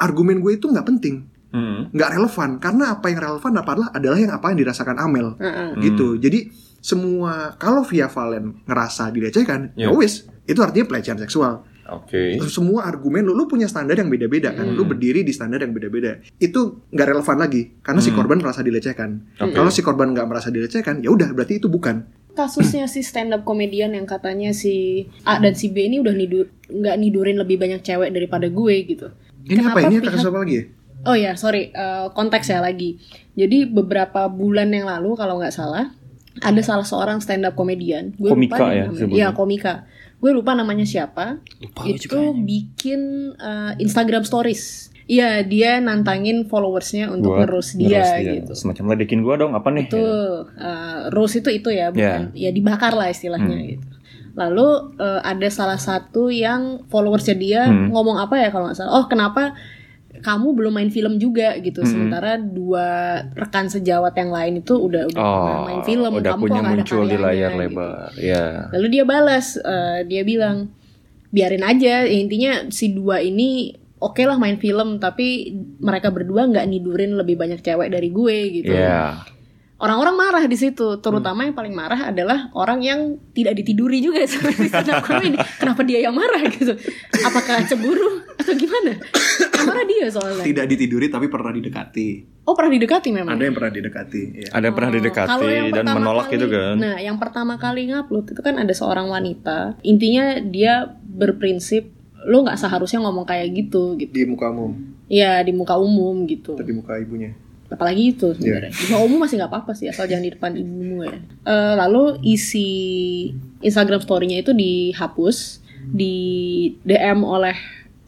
B: argumen gue itu nggak penting,
C: Hmm.
B: nggak relevan karena apa yang relevan adalah adalah yang apa yang dirasakan Amel
A: Heeh.
B: gitu. Jadi semua kalau Via Valen ngerasa dilecehkan, ya
C: Iya.
B: wis itu artinya pelecehan seksual.
C: Oke.
B: Semua argumen lu, lu punya standar yang beda-beda kan, lu berdiri di standar yang beda-beda. Itu nggak relevan lagi karena si korban merasa dilecehkan.
C: Oke.
B: Kalau si korban nggak merasa dilecehkan, ya udah berarti itu bukan.
A: kasusnya si stand up komedian yang katanya si A dan si B ini udah nidur nggak nidurin lebih banyak cewek daripada gue gitu.
B: Ini
A: Kenapa
B: apa ini
A: pihak-
B: kasus apa lagi? ya?
A: Oh ya, sorry, eh, konteks ya lagi. Jadi beberapa bulan yang lalu kalau nggak salah, ada salah seorang stand up komedian. Gue lupa
C: Komika
A: deh
C: ya,
A: namanya.
C: sebelumnya.
A: Iya, komika. Gue lupa namanya siapa. itu bikin eh, Instagram stories. Iya, dia nantangin followersnya untuk
C: Buat
A: ngerus dia,
C: ngerus
A: gitu.
C: Semacam ledekin gua dong, apa nih?
A: Betul. Eh, rose itu itu ya, bukan ya dibakar lah istilahnya
C: Hmm.
A: gitu. Lalu eh, ada salah satu yang followersnya dia
C: Hmm.
A: ngomong apa ya kalau nggak salah. Oh kenapa kamu belum main film juga gitu?
C: Hmm.
A: Sementara dua rekan sejawat yang lain itu udah udah pernah
C: Oh,
A: Gitu. main film,
C: udah
A: kamu kok
C: punya
A: nggak ada
C: muncul di
A: karyanya,
C: layar
A: gitu.
C: lebar. Ya.
A: Lalu dia balas, eh, dia bilang biarin aja. Ya, intinya si dua ini oke lah main film, tapi mereka berdua nggak nidurin lebih banyak cewek dari gue gitu
C: Ya.
A: orang-orang marah di situ terutama
C: Hmm.
A: yang paling marah adalah orang yang tidak ditiduri juga seperti stand up comedy. kenapa dia yang marah gitu apakah cemburu atau gimana Yang marah dia soalnya
B: Tidak ditiduri tapi pernah didekati.
A: oh pernah didekati memang
B: Ada yang pernah didekati. Ya.
C: Ada yang pernah
A: Oh, kalau yang
C: didekati dan
A: pertama
C: menolak
A: kali-
C: gitu kan.
A: Nah, yang pertama kali ngupload itu kan ada seorang wanita. Intinya dia berprinsip lo nggak seharusnya ngomong kayak gitu gitu.
B: Di mukamu,
A: Ya di muka umum gitu.
B: tapi muka ibunya.
A: apalagi itu sebenarnya di bawah umum masih nggak apa-apa sih asal jangan di depan ibumu ya Eh, lalu isi Instagram story-nya itu dihapus di DM oleh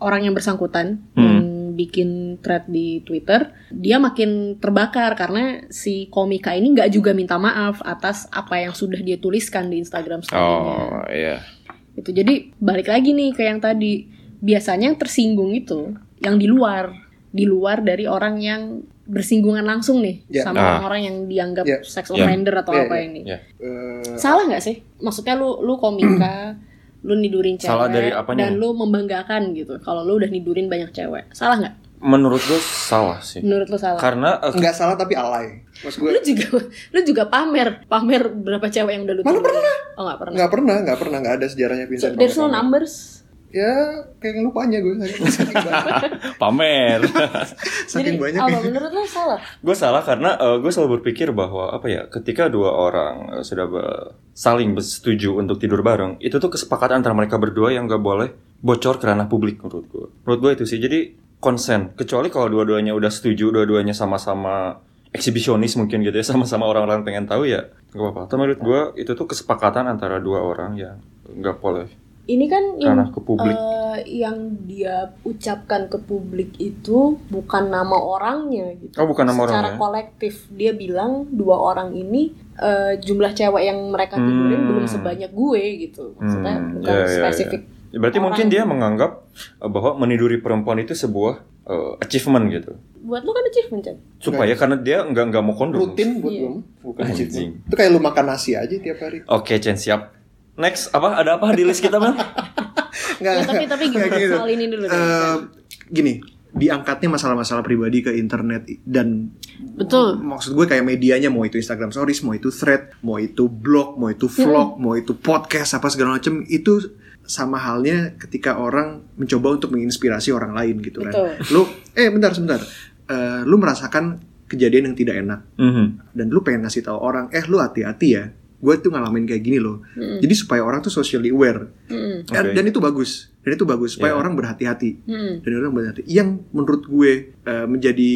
A: orang yang bersangkutan yang bikin thread di Twitter dia makin terbakar karena si komika ini nggak juga minta maaf atas apa yang sudah dia tuliskan di Instagram story-nya
C: Oh, iya.
A: itu Gitu. jadi balik lagi nih ke yang tadi biasanya yang tersinggung itu yang di luar di luar dari orang yang bersinggungan langsung nih
B: Ya.
A: sama
C: Ah.
A: orang yang dianggap
B: Ya.
A: sex
C: Ya.
A: offender atau
B: Ya,
A: apa
B: ya.
A: ini
C: Ya.
B: Eh,
A: salah nggak sih maksudnya lu lu komika lu nidurin cewek
C: Salah dari apanya?
A: dan lu membanggakan gitu kalau lu udah nidurin banyak cewek salah nggak
C: Menurut gua salah sih.
A: menurut lu salah
C: Karena eh,
B: nggak salah tapi alay. Mas gue
A: lu juga lu juga pamer pamer berapa cewek yang udah lu
B: Mana
A: turunin. oh nggak pernah
B: nggak pernah, nggak pernah, nggak ada sejarahnya
A: so,
B: Vincent.
A: there's no
B: Pamer.
A: numbers
B: Ya, kayak lupanya gue saking, saking banyak.
C: pamer.
A: jadi
B: Saking banyak.
A: apa menurut lu salah
C: gue salah karena gue selalu berpikir bahwa apa ya ketika dua orang eh, sudah be- saling setuju untuk tidur bareng itu tuh kesepakatan antara mereka berdua yang gak boleh bocor ke ranah publik menurut gue menurut gue itu sih jadi konsen kecuali kalau dua-duanya udah setuju dua-duanya sama-sama eksibisionis mungkin gitu ya sama-sama orang-orang pengen tahu ya gak apa-apa tapi menurut gue itu tuh kesepakatan antara dua orang yang nggak boleh
A: ini kan
C: ke
A: yang
C: ranah ke publik
A: eh, yang dia ucapkan ke publik itu bukan nama orangnya gitu.
C: oh bukan nama
A: Secara
C: orang ya
A: kolektif dia bilang dua orang ini eh, jumlah cewek yang mereka tidurin
C: Hmm.
A: belum sebanyak gue gitu. Maksudnya
C: Hmm,
A: bukan
C: ya, ya, ya.
A: spesifik.
C: Berarti
A: Orang.
C: mungkin dia menganggap eh, bahwa meniduri perempuan itu sebuah eh, achievement gitu.
D: Buat lu kan achievement, Chan.
C: Supaya karena dia nggak nggak mau kondom.
B: Rutin buat
D: Iya.
B: gue mah, bukan
C: Anjing.
B: achievement. Itu kayak lu makan nasi aja tiap hari.
C: Oke, Chen siap. Next apa? Ada apa di list kita Mel?
B: Nggak,
D: Ya, tapi- tapi
B: nggak
D: gimana soal ini
A: ya,
D: dulu deh.
B: gitu. Eh, gini, diangkatnya masalah-masalah pribadi ke internet i- dan
A: Betul.
B: maksud gue kayak medianya mau itu Instagram Stories, mau itu thread, mau itu blog, mau itu vlog, mau itu podcast apa segala macam itu sama halnya ketika orang mencoba untuk menginspirasi orang lain gitu kan.
D: Betul.
B: Lu eh bentar sebentar. Eh, lu merasakan kejadian yang tidak enak
C: Mhm.
B: dan lu pengen ngasih tahu orang, eh lu hati-hati ya. Gue tuh ngalamin kayak gini loh.
A: Hmm.
B: Jadi supaya orang tuh socially aware.
A: Mm-mm.
B: Dan,
C: Oke.
B: dan itu bagus. Dan itu bagus supaya
C: Iya.
B: orang berhati-hati
A: Mm-mm.
B: dan orang banyak hati. yang menurut gue eh, menjadi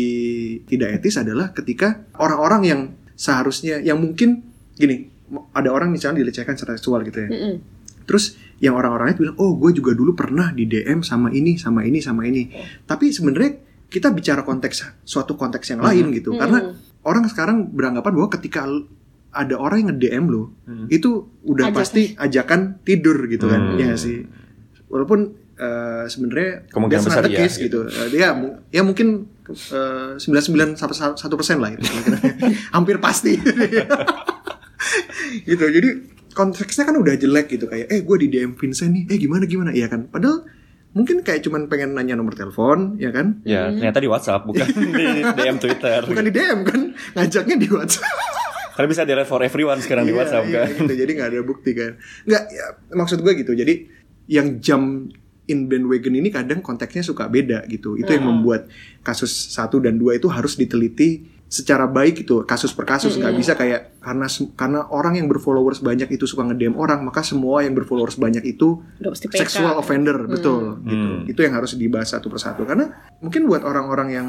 B: tidak etis adalah ketika orang-orang yang seharusnya yang mungkin gini m- ada orang misalnya dilecehkan secara seksual gitu ya
A: Mm-mm.
B: terus yang orang-orangnya bilang oh gue juga dulu pernah di DM sama ini sama ini sama ini tapi sebenarnya kita bicara konteks suatu konteks yang lain gitu karena orang sekarang beranggapan bahwa ketika l- ada orang yang nge-DM lo
C: Hmm.
B: itu udah
D: Ajakan.
B: pasti ajakan tidur gitu kan
C: Hmm.
B: ya nggak sih walaupun eh, sebenarnya
C: Kemungkinan
B: that's not
C: besar
B: the
C: iya,
B: case,
C: gitu.
B: gitu Eh, dia mu- ya mungkin eh, sembilan sembilan satu persen lah itu hampir pasti gitu jadi konteksnya kan udah jelek gitu kayak eh gue di DM Vincent nih eh gimana gimana iya kan padahal mungkin kayak cuman pengen nanya nomor telepon ya kan
C: Ya,
A: Mhm.
C: ternyata di WhatsApp bukan di DM Twitter.
B: bukan di DM kan ngajaknya di WhatsApp
C: Karena bisa direct for everyone sekarang di
B: Iya,
C: WhatsApp
B: iya,
C: kan.
B: gitu. Jadi nggak ada bukti kan. Nggak, ya, maksud gue gitu. Jadi yang jam in bandwagon ini kadang konteksnya suka beda gitu. Itu yang membuat kasus satu dan dua itu harus diteliti secara baik gitu. Kasus per kasus nggak bisa kayak karena sem- karena orang yang berfollowers banyak itu suka nge-DM orang, maka semua yang berfollowers banyak itu
A: Udah pasti PK.
B: sexual offender, betul gitu.
C: Hmm.
B: Itu yang harus dibahas satu persatu karena mungkin buat orang-orang yang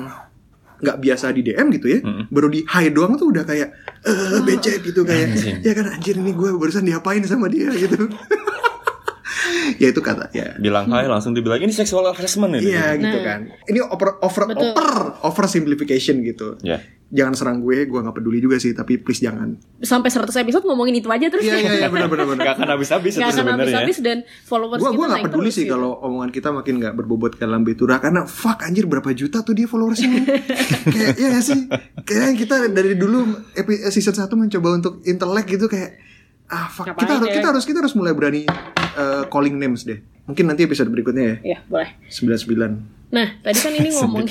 B: nggak biasa di DM gitu ya,
C: Hmm.
B: baru di high doang tuh udah kayak
A: Hmm.
B: eh becek gitu kayak
C: Anjing.
B: ya kan anjir ini gue barusan diapain sama dia gitu. ya itu kata ya.
C: Bilang hai langsung dibilang ini sexual harassment ini.
B: Iya gitu
A: Nah.
B: kan. Ini over over
A: Betul.
B: over over simplification gitu.
C: Ya.
B: Jangan serang gue, gue nggak peduli juga sih, tapi please jangan.
A: Sampai 100 episode ngomongin itu aja terus.
B: Iya iya iya benar benar benar.
C: Gak akan habis-habis itu
A: Gak akan
C: sebenarnya.
A: habis-habis dan followers
B: Gue
A: kita
B: gue nggak
A: naik
B: peduli
A: terus
B: sih
A: gitu.
B: kalau omongan kita makin nggak berbobot ke dalam betura karena fuck anjir berapa juta tuh dia followersnya kayak ya nggak sih kayak kita dari dulu epi- season 1 mencoba untuk intelek gitu kayak ah fuck
A: Ngapain
B: kita harus
A: ya?
B: kita harus kita harus mulai berani eh, calling names deh mungkin nanti episode berikutnya ya
A: Iya, boleh.
B: 99
A: Nah, tadi kan ini ngomong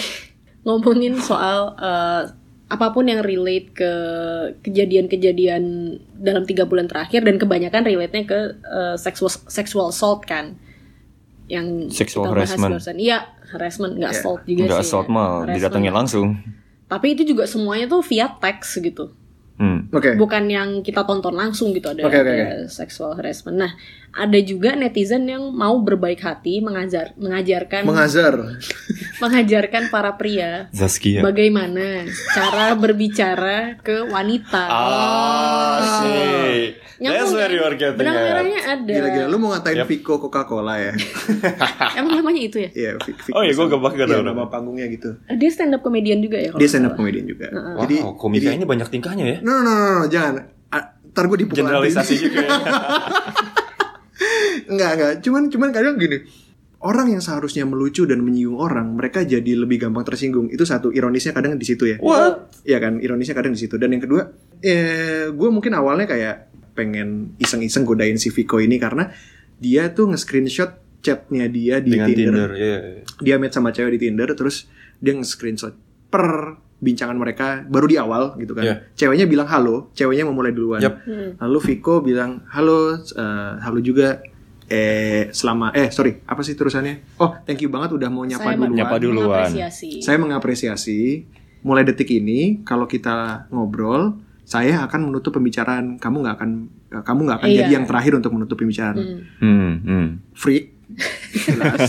A: ngomongin soal eh, apapun yang relate ke kejadian-kejadian dalam tiga bulan terakhir dan kebanyakan relate-nya ke eh, sexual sexual assault kan yang
C: Sexual
A: kita bahas
C: harassment.
A: barusan. Iya, harassment nggak
B: Iya.
A: assault juga
C: Enggak
A: sih.
C: assault
A: ya.
C: mah,
A: Harassment.
C: didatengin langsung.
A: Tapi itu juga semuanya tuh via teks gitu.
C: Hmm.
B: oke
A: Bukan yang kita tonton langsung gitu ada,
B: Oke, oke,
A: ada sexual harassment. Nah, ada juga netizen yang mau berbaik hati mengajar mengajarkan
B: mengazar
A: mengajarkan para pria
C: Zaskia.
A: bagaimana cara berbicara ke wanita.
C: Ah, sih. That's
A: Nyambung,
C: where
A: kan?
C: you are getting
A: Benang
C: at.
A: merahnya ada.
B: gila-gila lu mau ngatain
C: Yep.
B: Vico Coca-Cola ya
A: Emang namanya itu ya?
B: Iya, Vic- Vico
C: Oh iya, gua
B: sama-
C: kebak gak tau
B: iya,
C: nama.
B: nama panggungnya gitu
A: Dia stand up comedian juga ya? kalau
B: dia
A: nggak
B: stand up
A: salah?
B: comedian juga
C: Wow, komika ini banyak tingkahnya ya.
B: no no no, no, no, jangan Ah, ntar gue dipukul
C: Generalisasi
B: habis.
C: juga ya.
B: Enggak, enggak. Cuman cuman kadang gini. Orang yang seharusnya melucu dan menyinggung orang, mereka jadi lebih gampang tersinggung. Itu satu ironisnya kadang di situ ya.
C: What?
B: Iya kan, ironisnya kadang di situ. Dan yang kedua, eh gue mungkin awalnya kayak pengen iseng-iseng godain si Viko ini karena dia tuh nge-screenshot chatnya dia di
C: Dengan
B: Tinder.
C: Tinder, iya.
B: Dia match sama cewek di Tinder terus dia nge-screenshot per bincangan mereka baru di awal gitu kan.
C: Iya.
B: Ceweknya bilang halo, ceweknya memulai duluan.
C: Yap.
A: Hmm.
B: Lalu Viko bilang halo, eh, halo juga. Eh selama eh sorry apa sih terusannya? Oh thank you banget udah mau nyapa
A: Saya
B: duluan.
C: Nyapa dulu. duluan.
A: mengapresiasi.
B: Saya mengapresiasi. Mulai detik ini kalau kita ngobrol, saya akan menutup pembicaraan. Kamu nggak akan eh, kamu nggak akan
A: Iya.
B: jadi yang terakhir untuk menutup pembicaraan.
A: Hmm.
C: Hmm, hmm.
B: Freak jelas,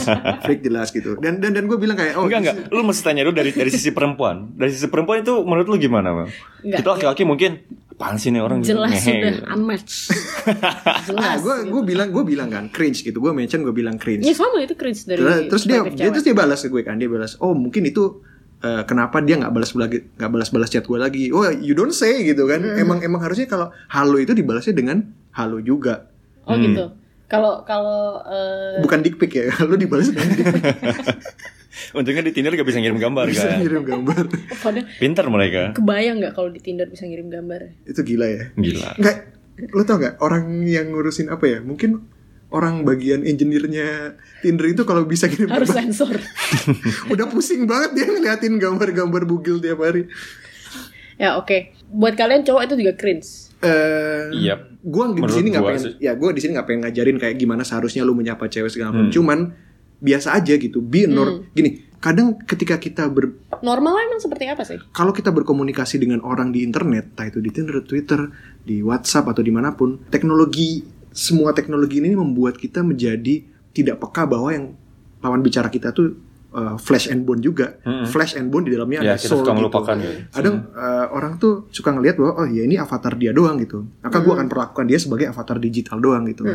B: freak jelas gitu. Dan dan dan gue bilang kayak oh
C: enggak enggak,
B: this
C: lu mesti tanya dulu dari dari sisi perempuan. Dari sisi perempuan itu menurut lu gimana, Bang?
A: Enggak.
C: Kita laki-laki mungkin apaan sih nih orang
A: Jelas
C: ngehe
A: sudah
C: gitu.
A: unmatch.
B: Nah,
A: Jelas.
B: gue gue bilang gue bilang kan cringe gitu. Gue mention gue bilang cringe.
A: Ya sama itu cringe dari
B: Terus, terus dia,
A: perspektif
B: dia
A: cewek.
B: terus dia balas ke gue kan dia balas oh mungkin itu eh, kenapa dia nggak balas lagi nggak balas balas chat gue lagi oh you don't say gitu kan
A: Hmm.
B: emang emang harusnya kalau halo itu dibalasnya dengan halo juga
A: Oh
C: Hmm.
A: gitu. Kalau kalau eh,
B: bukan dick pic ya halo dibalas dengan dick pic
C: Untungnya di Tinder gak bisa ngirim gambar
B: bisa
C: kan.
B: ngirim gambar
A: Padahal
C: Pinter mereka.
A: kebayang nggak kalau di Tinder bisa ngirim gambar?
B: itu gila ya
C: Gila.
B: nggak lo tau nggak orang yang ngurusin apa ya mungkin orang bagian engineer-nya Tinder itu kalau bisa ngirim
A: Harus
B: gambar
A: sensor.
B: udah pusing banget dia ngeliatin gambar-gambar bugil tiap hari
A: ya oke. Buat kalian cowok itu juga cringe.
B: eh
C: Yep.
B: Gue di
C: Iya. Menurut
B: sini nggak
C: gua
B: pengen,
C: sih.
B: ya gue di sini nggak pengen ngajarin kayak gimana seharusnya lu menyapa cewek segala
C: Hmm.
B: macam. Cuman biasa aja gitu. Be a nor- Gini, kadang ketika kita ber,
A: Normal emang seperti apa sih?
B: kalau kita berkomunikasi dengan orang di internet, entah itu di Tinder, Twitter, di WhatsApp atau dimanapun, teknologi semua teknologi ini membuat kita menjadi tidak peka bahwa yang lawan bicara kita tuh uh, flash and bone juga.
C: Mm-mm.
B: Flash and bone di dalamnya
C: Hmm. Ya
B: ada
C: kita
B: soul
C: suka
B: gitu.
C: melupakan gitu.
B: Kadang
A: Hmm.
B: eh, orang tuh suka ngelihat bahwa oh ya ini avatar dia doang gitu. Maka
A: Hmm.
B: gue akan perlakukan dia sebagai avatar digital doang gitu.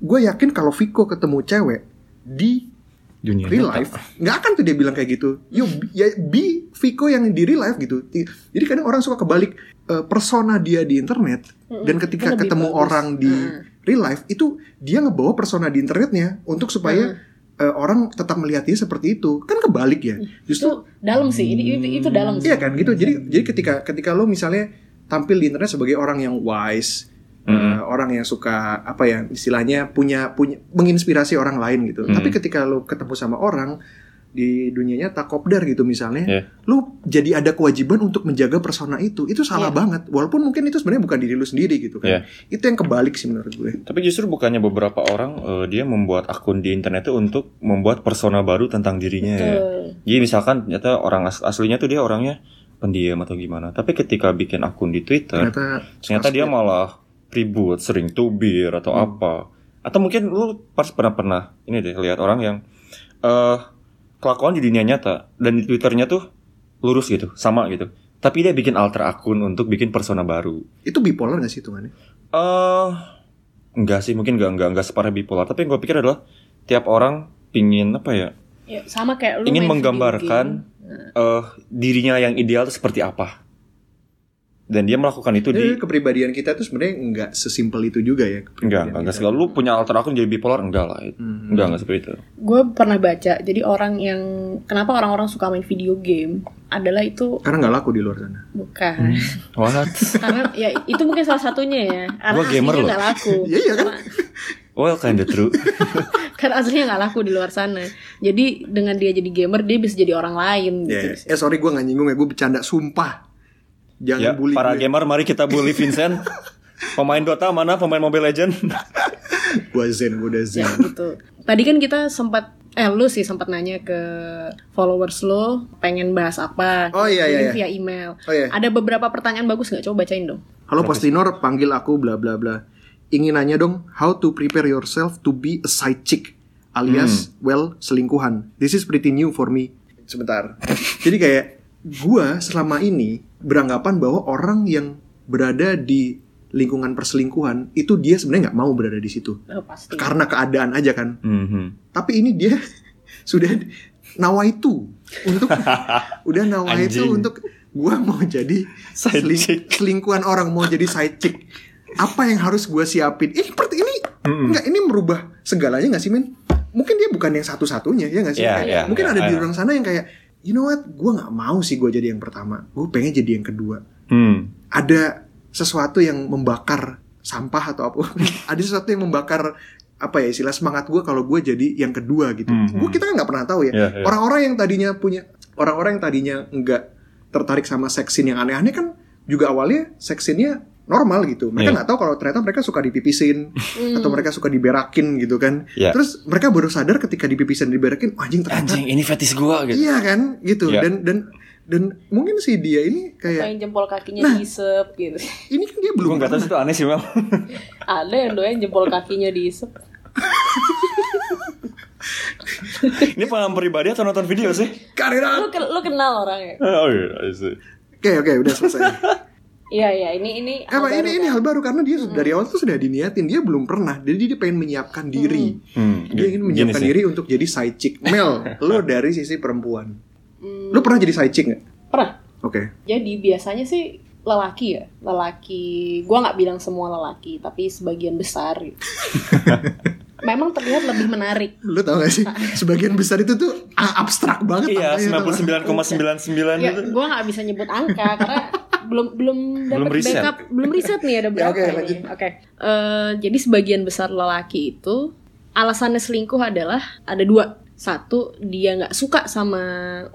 B: Gue yakin kalau Viko ketemu cewek di
A: Iya,
C: Dunia
B: real
C: nyata.
B: life nggak akan tuh dia bilang kayak gitu yo ya be Viko yang di real life gitu Ti- jadi kadang orang suka kebalik eh, persona dia di internet dan
A: kan
B: ketika
A: lebih
B: ketemu
A: bagus.
B: orang di
A: Mm.
B: real life itu dia ngebawa persona di internetnya untuk supaya
A: Hmm.
B: eh, orang tetap melihat dia seperti itu kan kebalik ya justru
A: Itu dalam sih. Ini itu, itu dalam sih.
B: Iya kan gitu. Jadi jadi ketika ketika lo misalnya tampil di internet sebagai orang yang wise, eh, orang yang suka apa ya istilahnya punya punya menginspirasi orang lain gitu.
C: Mm.
B: Tapi ketika lo ketemu sama orang di dunia nyata kopdar gitu misalnya,
C: Iya.
B: lo jadi ada kewajiban untuk menjaga persona itu. Itu salah
A: Iya.
B: banget. Walaupun mungkin itu sebenarnya bukan diri lo sendiri gitu
C: Iya.
B: kan. Itu yang kebalik sih menurut gue.
C: Tapi justru bukannya beberapa orang eh, dia membuat akun di internet itu untuk membuat persona baru tentang dirinya ya.
A: Betul.
C: Jadi misalkan ternyata orang as- aslinya tuh dia orangnya pendiam atau gimana. Tapi ketika bikin akun di Twitter,
B: Ternyata
C: ternyata dia
B: sosmed.
C: malah ribut, sering tubir atau
B: Hmm.
C: apa. Atau mungkin lu pas pernah pernah ini deh lihat orang yang eh kelakuan di dunia nyata dan di Twitternya tuh lurus gitu, sama gitu. Tapi dia bikin alter akun untuk bikin persona baru.
B: itu bipolar gak sih hitungannya?
C: Eh, enggak sih, mungkin enggak enggak enggak separah bipolar. Tapi yang gue pikir adalah tiap orang pingin apa ya?
A: Ya, sama kayak lu
C: ingin
A: main video
C: menggambarkan eh dirinya yang ideal itu seperti apa. Dan dia melakukan itu di
B: Eh, kepribadian kita tuh sebenarnya nggak sesimpel itu juga ya.
C: enggak
B: kepribadian
C: enggak, enggak
B: kita.
C: segala lu punya alter akun jadi bipolar enggak lah.
B: Hmm.
C: Enggak enggak seperti itu.
A: gue pernah baca jadi orang yang kenapa orang-orang suka main video game adalah itu
B: Karena nggak laku di luar sana.
A: bukan
C: Hmm. What?
A: karena ya itu mungkin salah satunya ya karena
C: Gua gamer
A: aslinya
C: loh.
A: nggak laku
B: Iya, iya kan?
A: Karena-
C: well kinda true.
A: karena aslinya nggak laku di luar sana jadi dengan dia jadi gamer dia bisa jadi orang lain gitu
B: Iya, iya. Eh sorry gue gak nyinggung ya, gue bercanda sumpah. Jangan
C: ya,
B: bully
C: para
B: gue.
C: gamer mari kita bully Vincent. Pemain Dota mana? Pemain Mobile Legend?
B: Gue zen, gue udah
C: iya.
A: Ya,
B: zen.
A: gitu tadi kan kita sempat eh lu sih sempat nanya ke followers lo pengen bahas apa
B: Oh, iya, iya,
A: Kirim
B: iya.
A: via email
B: Oh, iya.
A: ada beberapa pertanyaan bagus nggak coba bacain dong
B: Halo Postinor, panggil aku bla bla bla. Ingin nanya dong, how to prepare yourself to be a side chick alias well selingkuhan. This is pretty new for me. Sebentar. Jadi kayak gua selama ini beranggapan bahwa orang yang berada di lingkungan perselingkuhan itu dia sebenarnya nggak mau berada di situ
A: Oh, pasti
B: karena keadaan aja kan.
C: Mhm.
B: tapi ini dia sudah nawaitu untuk udah nawaitu
C: Anjing.
B: untuk gua mau jadi
C: Side
B: seling-
C: chick.
B: selingkuhan orang mau jadi side chick apa yang harus gua siapin ini seperti ini
C: Hmm,
B: enggak ini merubah segalanya nggak sih men mungkin dia bukan yang satu satunya ya nggak sih
C: Iya,
B: Kayak,
C: iya,
B: mungkin
C: iya,
B: ada di
C: I know.
B: orang sana yang kayak you know what gua nggak mau sih gua jadi yang pertama gue pengen jadi yang kedua
C: Hmm.
B: ada sesuatu yang membakar sampah atau apa ada sesuatu yang membakar apa ya istilah semangat gue kalau gue jadi yang kedua gitu
C: Mhm.
B: gue kita kan nggak pernah tahu ya
C: Iya, iya.
B: orang-orang yang tadinya punya orang-orang yang tadinya nggak tertarik sama seksin yang aneh-aneh kan juga awalnya seksinnya normal gitu mereka
C: Iya.
B: nggak tahu kalau ternyata mereka suka dipipisin atau mereka suka diberakin gitu kan
C: Iya.
B: terus mereka baru sadar ketika dipipisin diberakin "Oh, anjing ternyata
C: Anjing, ini fetish gua gitu.
B: iya kan gitu
C: Iya.
B: dan dan dan mungkin si dia ini kayak
D: Main jempol kakinya diisep gitu.
B: ini kan dia belum
C: Gua enggak tahu
B: pernah.
C: sih itu aneh sih, Mel.
D: Ada yang doyan jempol kakinya diisep.
C: ini pengalaman pribadi atau nonton video sih?
B: Karena
D: Lu, ke- lu kenal
A: ya?
D: orangnya?
C: Oh iya, I see.
B: Oke oke udah selesai.
D: Iya iya ini ini.
B: Apa
D: hal
B: ini
D: baru,
B: ini
D: kan?
B: hal baru karena dia
A: Hmm.
B: dari awal tuh sudah diniatin dia belum pernah. Jadi dia pengen menyiapkan diri.
C: Hmm,
B: Dia
C: gini
B: ingin menyiapkan
C: sih.
B: diri untuk jadi side chick. Mel, lo
A: Hmm.
B: dari sisi perempuan. Lo pernah jadi side chick nggak?
D: Pernah.
B: Oke.
D: Jadi biasanya sih
A: lelaki ya lelaki gua nggak bilang semua lelaki tapi sebagian besar gitu. memang terlihat lebih menarik
B: Lu tau gak sih? Sebagian besar itu tuh a- abstrak banget.
C: Iya,
B: angkanya, tau gak?
C: 99,99
A: ya
C: itu.
A: gua nggak bisa nyebut angka karena belum belum
C: Belum
A: dapat
C: riset.
A: backup belum riset nih ada
B: Ya,
A: berapa
B: oke,
A: ini.
B: lanjut.
A: oke Eh, jadi sebagian besar lelaki itu alasannya selingkuh adalah ada dua satu dia nggak suka sama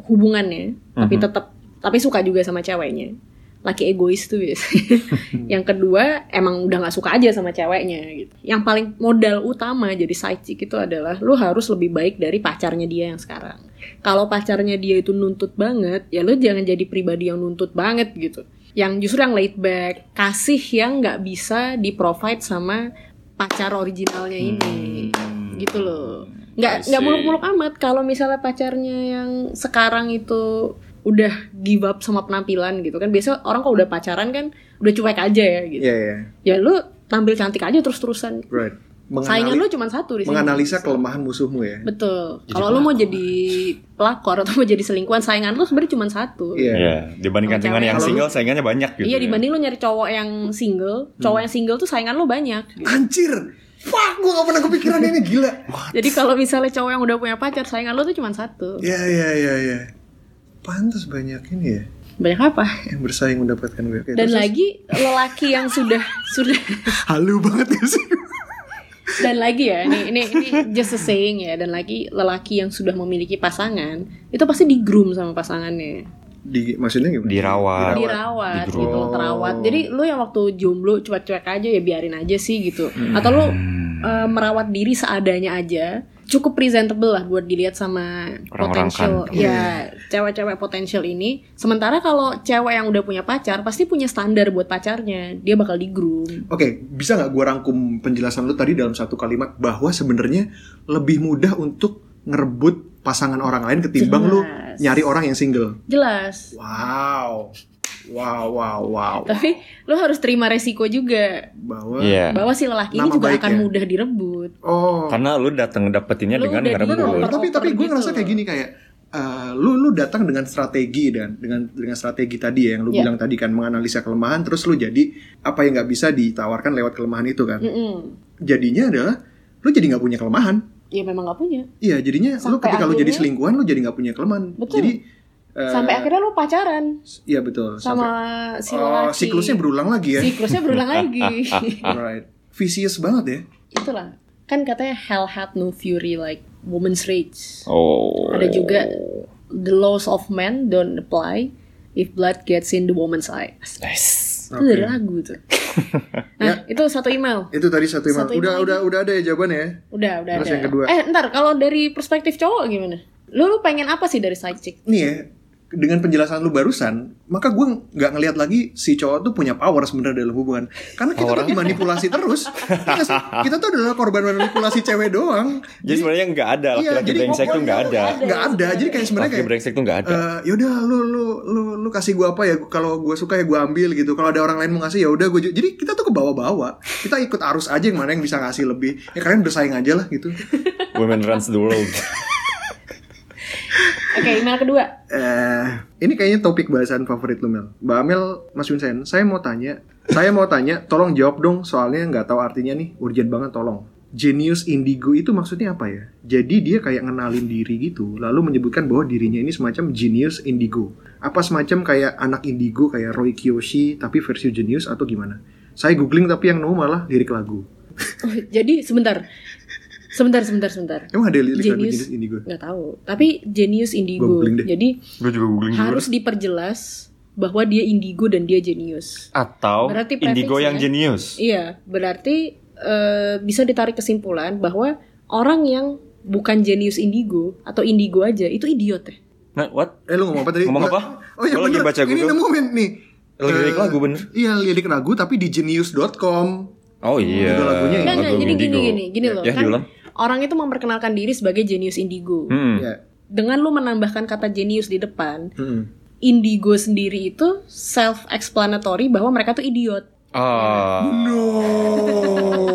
A: hubungannya tapi
C: Mhm.
A: tetap tapi suka juga sama ceweknya laki egois tuh biasanya yang kedua emang udah nggak suka aja sama ceweknya gitu yang paling modal utama jadi side chick itu adalah lu harus lebih baik dari pacarnya dia yang sekarang kalau pacarnya dia itu nuntut banget ya lu jangan jadi pribadi yang nuntut banget gitu yang justru yang laid back kasih yang nggak bisa di provide sama pacar originalnya ini
C: Hmm.
A: gitu loh
C: I
A: nggak
C: see.
A: nggak muluk-muluk amat kalau misalnya pacarnya yang sekarang itu udah give up sama penampilan gitu kan biasa orang kalau udah pacaran kan udah cuek aja ya gitu
B: Iya, iya.
A: ya lu tampil cantik aja terus-terusan
B: Right.
A: saingan lu
B: Menganali-
A: cuma satu di sini
B: menganalisa kelemahan musuhmu ya.
A: Betul.
C: Jadi
A: Kalau lu mau jadi pelakor atau mau jadi selingkuhan, saingan lu sebenarnya cuma satu.
B: Iya.
C: Iya, dibandingkan
A: Kalau
C: dengan yang
B: cewek-
C: single saingannya banyak gitu.
A: Iya,
C: ya.
A: dibanding lu nyari cowok yang single, cowok yang single tuh saingan lu banyak.
B: Anjir. Fuck, gue gak pernah kepikiran ini gila.
A: Jadi kalau misalnya cowok yang udah punya pacar, saingan lu tuh cuma satu.
B: Iya, iya, iya, iya. Pantas banyak ini ya
A: Banyak apa?
B: yang bersaing mendapatkan gue. Oke,
A: Dan
B: Iya, terus-
A: lagi lelaki yang sudah sudah
B: halu banget ya sih.
A: dan lagi ya ini ini ini just a saying ya dan lagi lelaki yang sudah memiliki pasangan itu pasti di groom sama pasangannya
B: Di, maksudnya gimana?
C: Dirawat. Terawat.
A: dirawat
C: Di
A: gitu
B: groom.
A: terawat jadi lu yang waktu jomblo cuek-cuek aja ya biarin aja sih gitu
C: Hmm.
A: atau lu eh, merawat diri seadanya aja cukup presentable lah buat dilihat sama
C: Orang-orang
A: potensial
C: kan.
B: Iya.
A: ya cewek-cewek potensial ini sementara kalau cewek yang udah punya pacar pasti punya standar buat pacarnya dia bakal di groom
B: Oke, bisa nggak gue rangkum penjelasan lu tadi dalam satu kalimat bahwa sebenarnya lebih mudah untuk ngerebut pasangan orang lain ketimbang lu
A: Jelas.
B: nyari orang yang single.
A: jelas
B: Wow, wow, wow, wow.
A: tapi lu harus terima resiko juga
B: Bahwa
C: Iya.
A: bahwa si lelaki ini
B: Nama ya.
A: juga akan
B: baiknya.
A: mudah direbut
B: oh,
C: Karena lu datang dapetinnya
A: Lu
C: dengan
A: udah
C: ngerebut.
A: dulu.
B: Bener, tapi tapi gue
A: gitu
B: ngerasa
A: loh.
B: kayak gini kayak eh, lu lu datang dengan strategi dan dengan dengan strategi tadi ya yang lu
A: Iya.
B: bilang tadi kan menganalisa kelemahan terus lu jadi apa yang nggak bisa ditawarkan lewat kelemahan itu
A: Iya.
B: kan
A: Mm-mm.
B: jadinya adalah lu jadi nggak punya kelemahan
A: ya memang nggak punya
B: iya jadinya lu
A: Sampai
B: ketika lu jadi
A: akhirnya-
B: selingkuhan lu jadi nggak punya kelemahan
A: Betul.
B: jadi eh,
A: sampai akhirnya lu pacaran
B: iya betul
A: sama
B: sampai
A: si
B: oh,
A: lelaki
B: siklusnya berulang lagi ya
A: siklusnya berulang lagi
B: right vicious banget ya
A: itulah kan katanya hell had no fury like woman's rage
C: Oh.
A: ada juga the laws of men don't apply if blood gets in the woman's eyes
C: Nice.
A: itu dari lagu tuh nah
B: Ya.
A: itu satu email
B: itu tadi satu email.
A: Satu email
B: udah
A: lagi.
B: udah udah ada ya jawabannya ya
A: udah udah
B: Terus
A: ada
B: yang kedua.
A: eh ntar kalau dari perspektif cowok gimana lu lu pengen apa sih dari side chick
B: nih ya dengan penjelasan lu barusan maka gue nggak ngelihat lagi si cowok tuh punya power sebenarnya dalam hubungan karena kita tuh
C: Power-nya?
B: dimanipulasi terus Iya nggak sih? kita tuh adalah korban manipulasi cewek doang
C: Jadi sebenarnya nggak ada
B: Iya,
C: laki-laki
B: jadi
C: brengsek tuh
B: pokoknya
C: nggak
B: lu
C: ada.
B: nggak ada jadi kayak sebenarnya
C: Laki
B: kayak
C: brengsek tuh nggak ada.
B: eh, yaudah lu lu lu lu kasih gue apa ya kalau gue suka ya gue ambil gitu kalau ada orang lain mau ngasih ya udah gue jadi kita tuh ke bawah-bawah kita ikut arus aja yang mana yang bisa ngasih lebih ya kalian bersaing aja lah gitu
C: Women runs the world.
A: oke email kedua
B: Eh, ini kayaknya topik bahasan favorit lu Mel. Mbak Amel, Mas Vincent, saya mau tanya, saya mau tanya, tolong jawab dong soalnya nggak tahu artinya nih, urgent banget tolong. Genius indigo itu maksudnya apa ya? Jadi dia kayak ngenalin diri gitu, lalu menyebutkan bahwa dirinya ini semacam genius indigo. Apa semacam kayak anak indigo kayak Roy Kiyoshi tapi versi genius atau gimana? Saya googling tapi yang nemu malah lirik lagu.
A: Oh, jadi sebentar sebentar sebentar sebentar
B: Emang ada lirik lagu
A: Genius.
B: genius indigo?
A: nggak tahu tapi genius indigo
B: Googling deh.
A: jadi
C: Gue juga googling dulu.
A: harus diperjelas bahwa dia indigo dan dia jenius.
C: Atau
A: Berarti
C: indigo
A: prefixnya.
C: yang jenius.
A: Iya, berarti eh, bisa ditarik kesimpulan bahwa orang yang bukan jenius indigo atau indigo aja itu idiot ya.
C: Nah, what?
B: Eh lu ngomong apa tadi?
C: Ngomong apa?
B: Oh iya
C: Gua lagi
B: bener,
C: baca
B: ini
C: Google.
B: nemu men nih
C: Lirik
B: Eh,
C: lagu bener.
B: Iya lirik lagu tapi di genius.com
C: Oh iya.
B: Itu lagunya Iya. ya?
A: Enggak, enggak,
C: Lagu
A: jadi gini
C: indigo.
A: gini, gini loh.
C: Ya,
A: kan
C: diulang.
A: orang itu memperkenalkan diri sebagai jenius indigo.
C: Hmm.
B: Iya.
A: Dengan lu menambahkan kata jenius di depan,
B: Mm-mm.
A: indigo sendiri itu self explanatory bahwa mereka tuh idiot. Iya.
C: Ah.
B: No.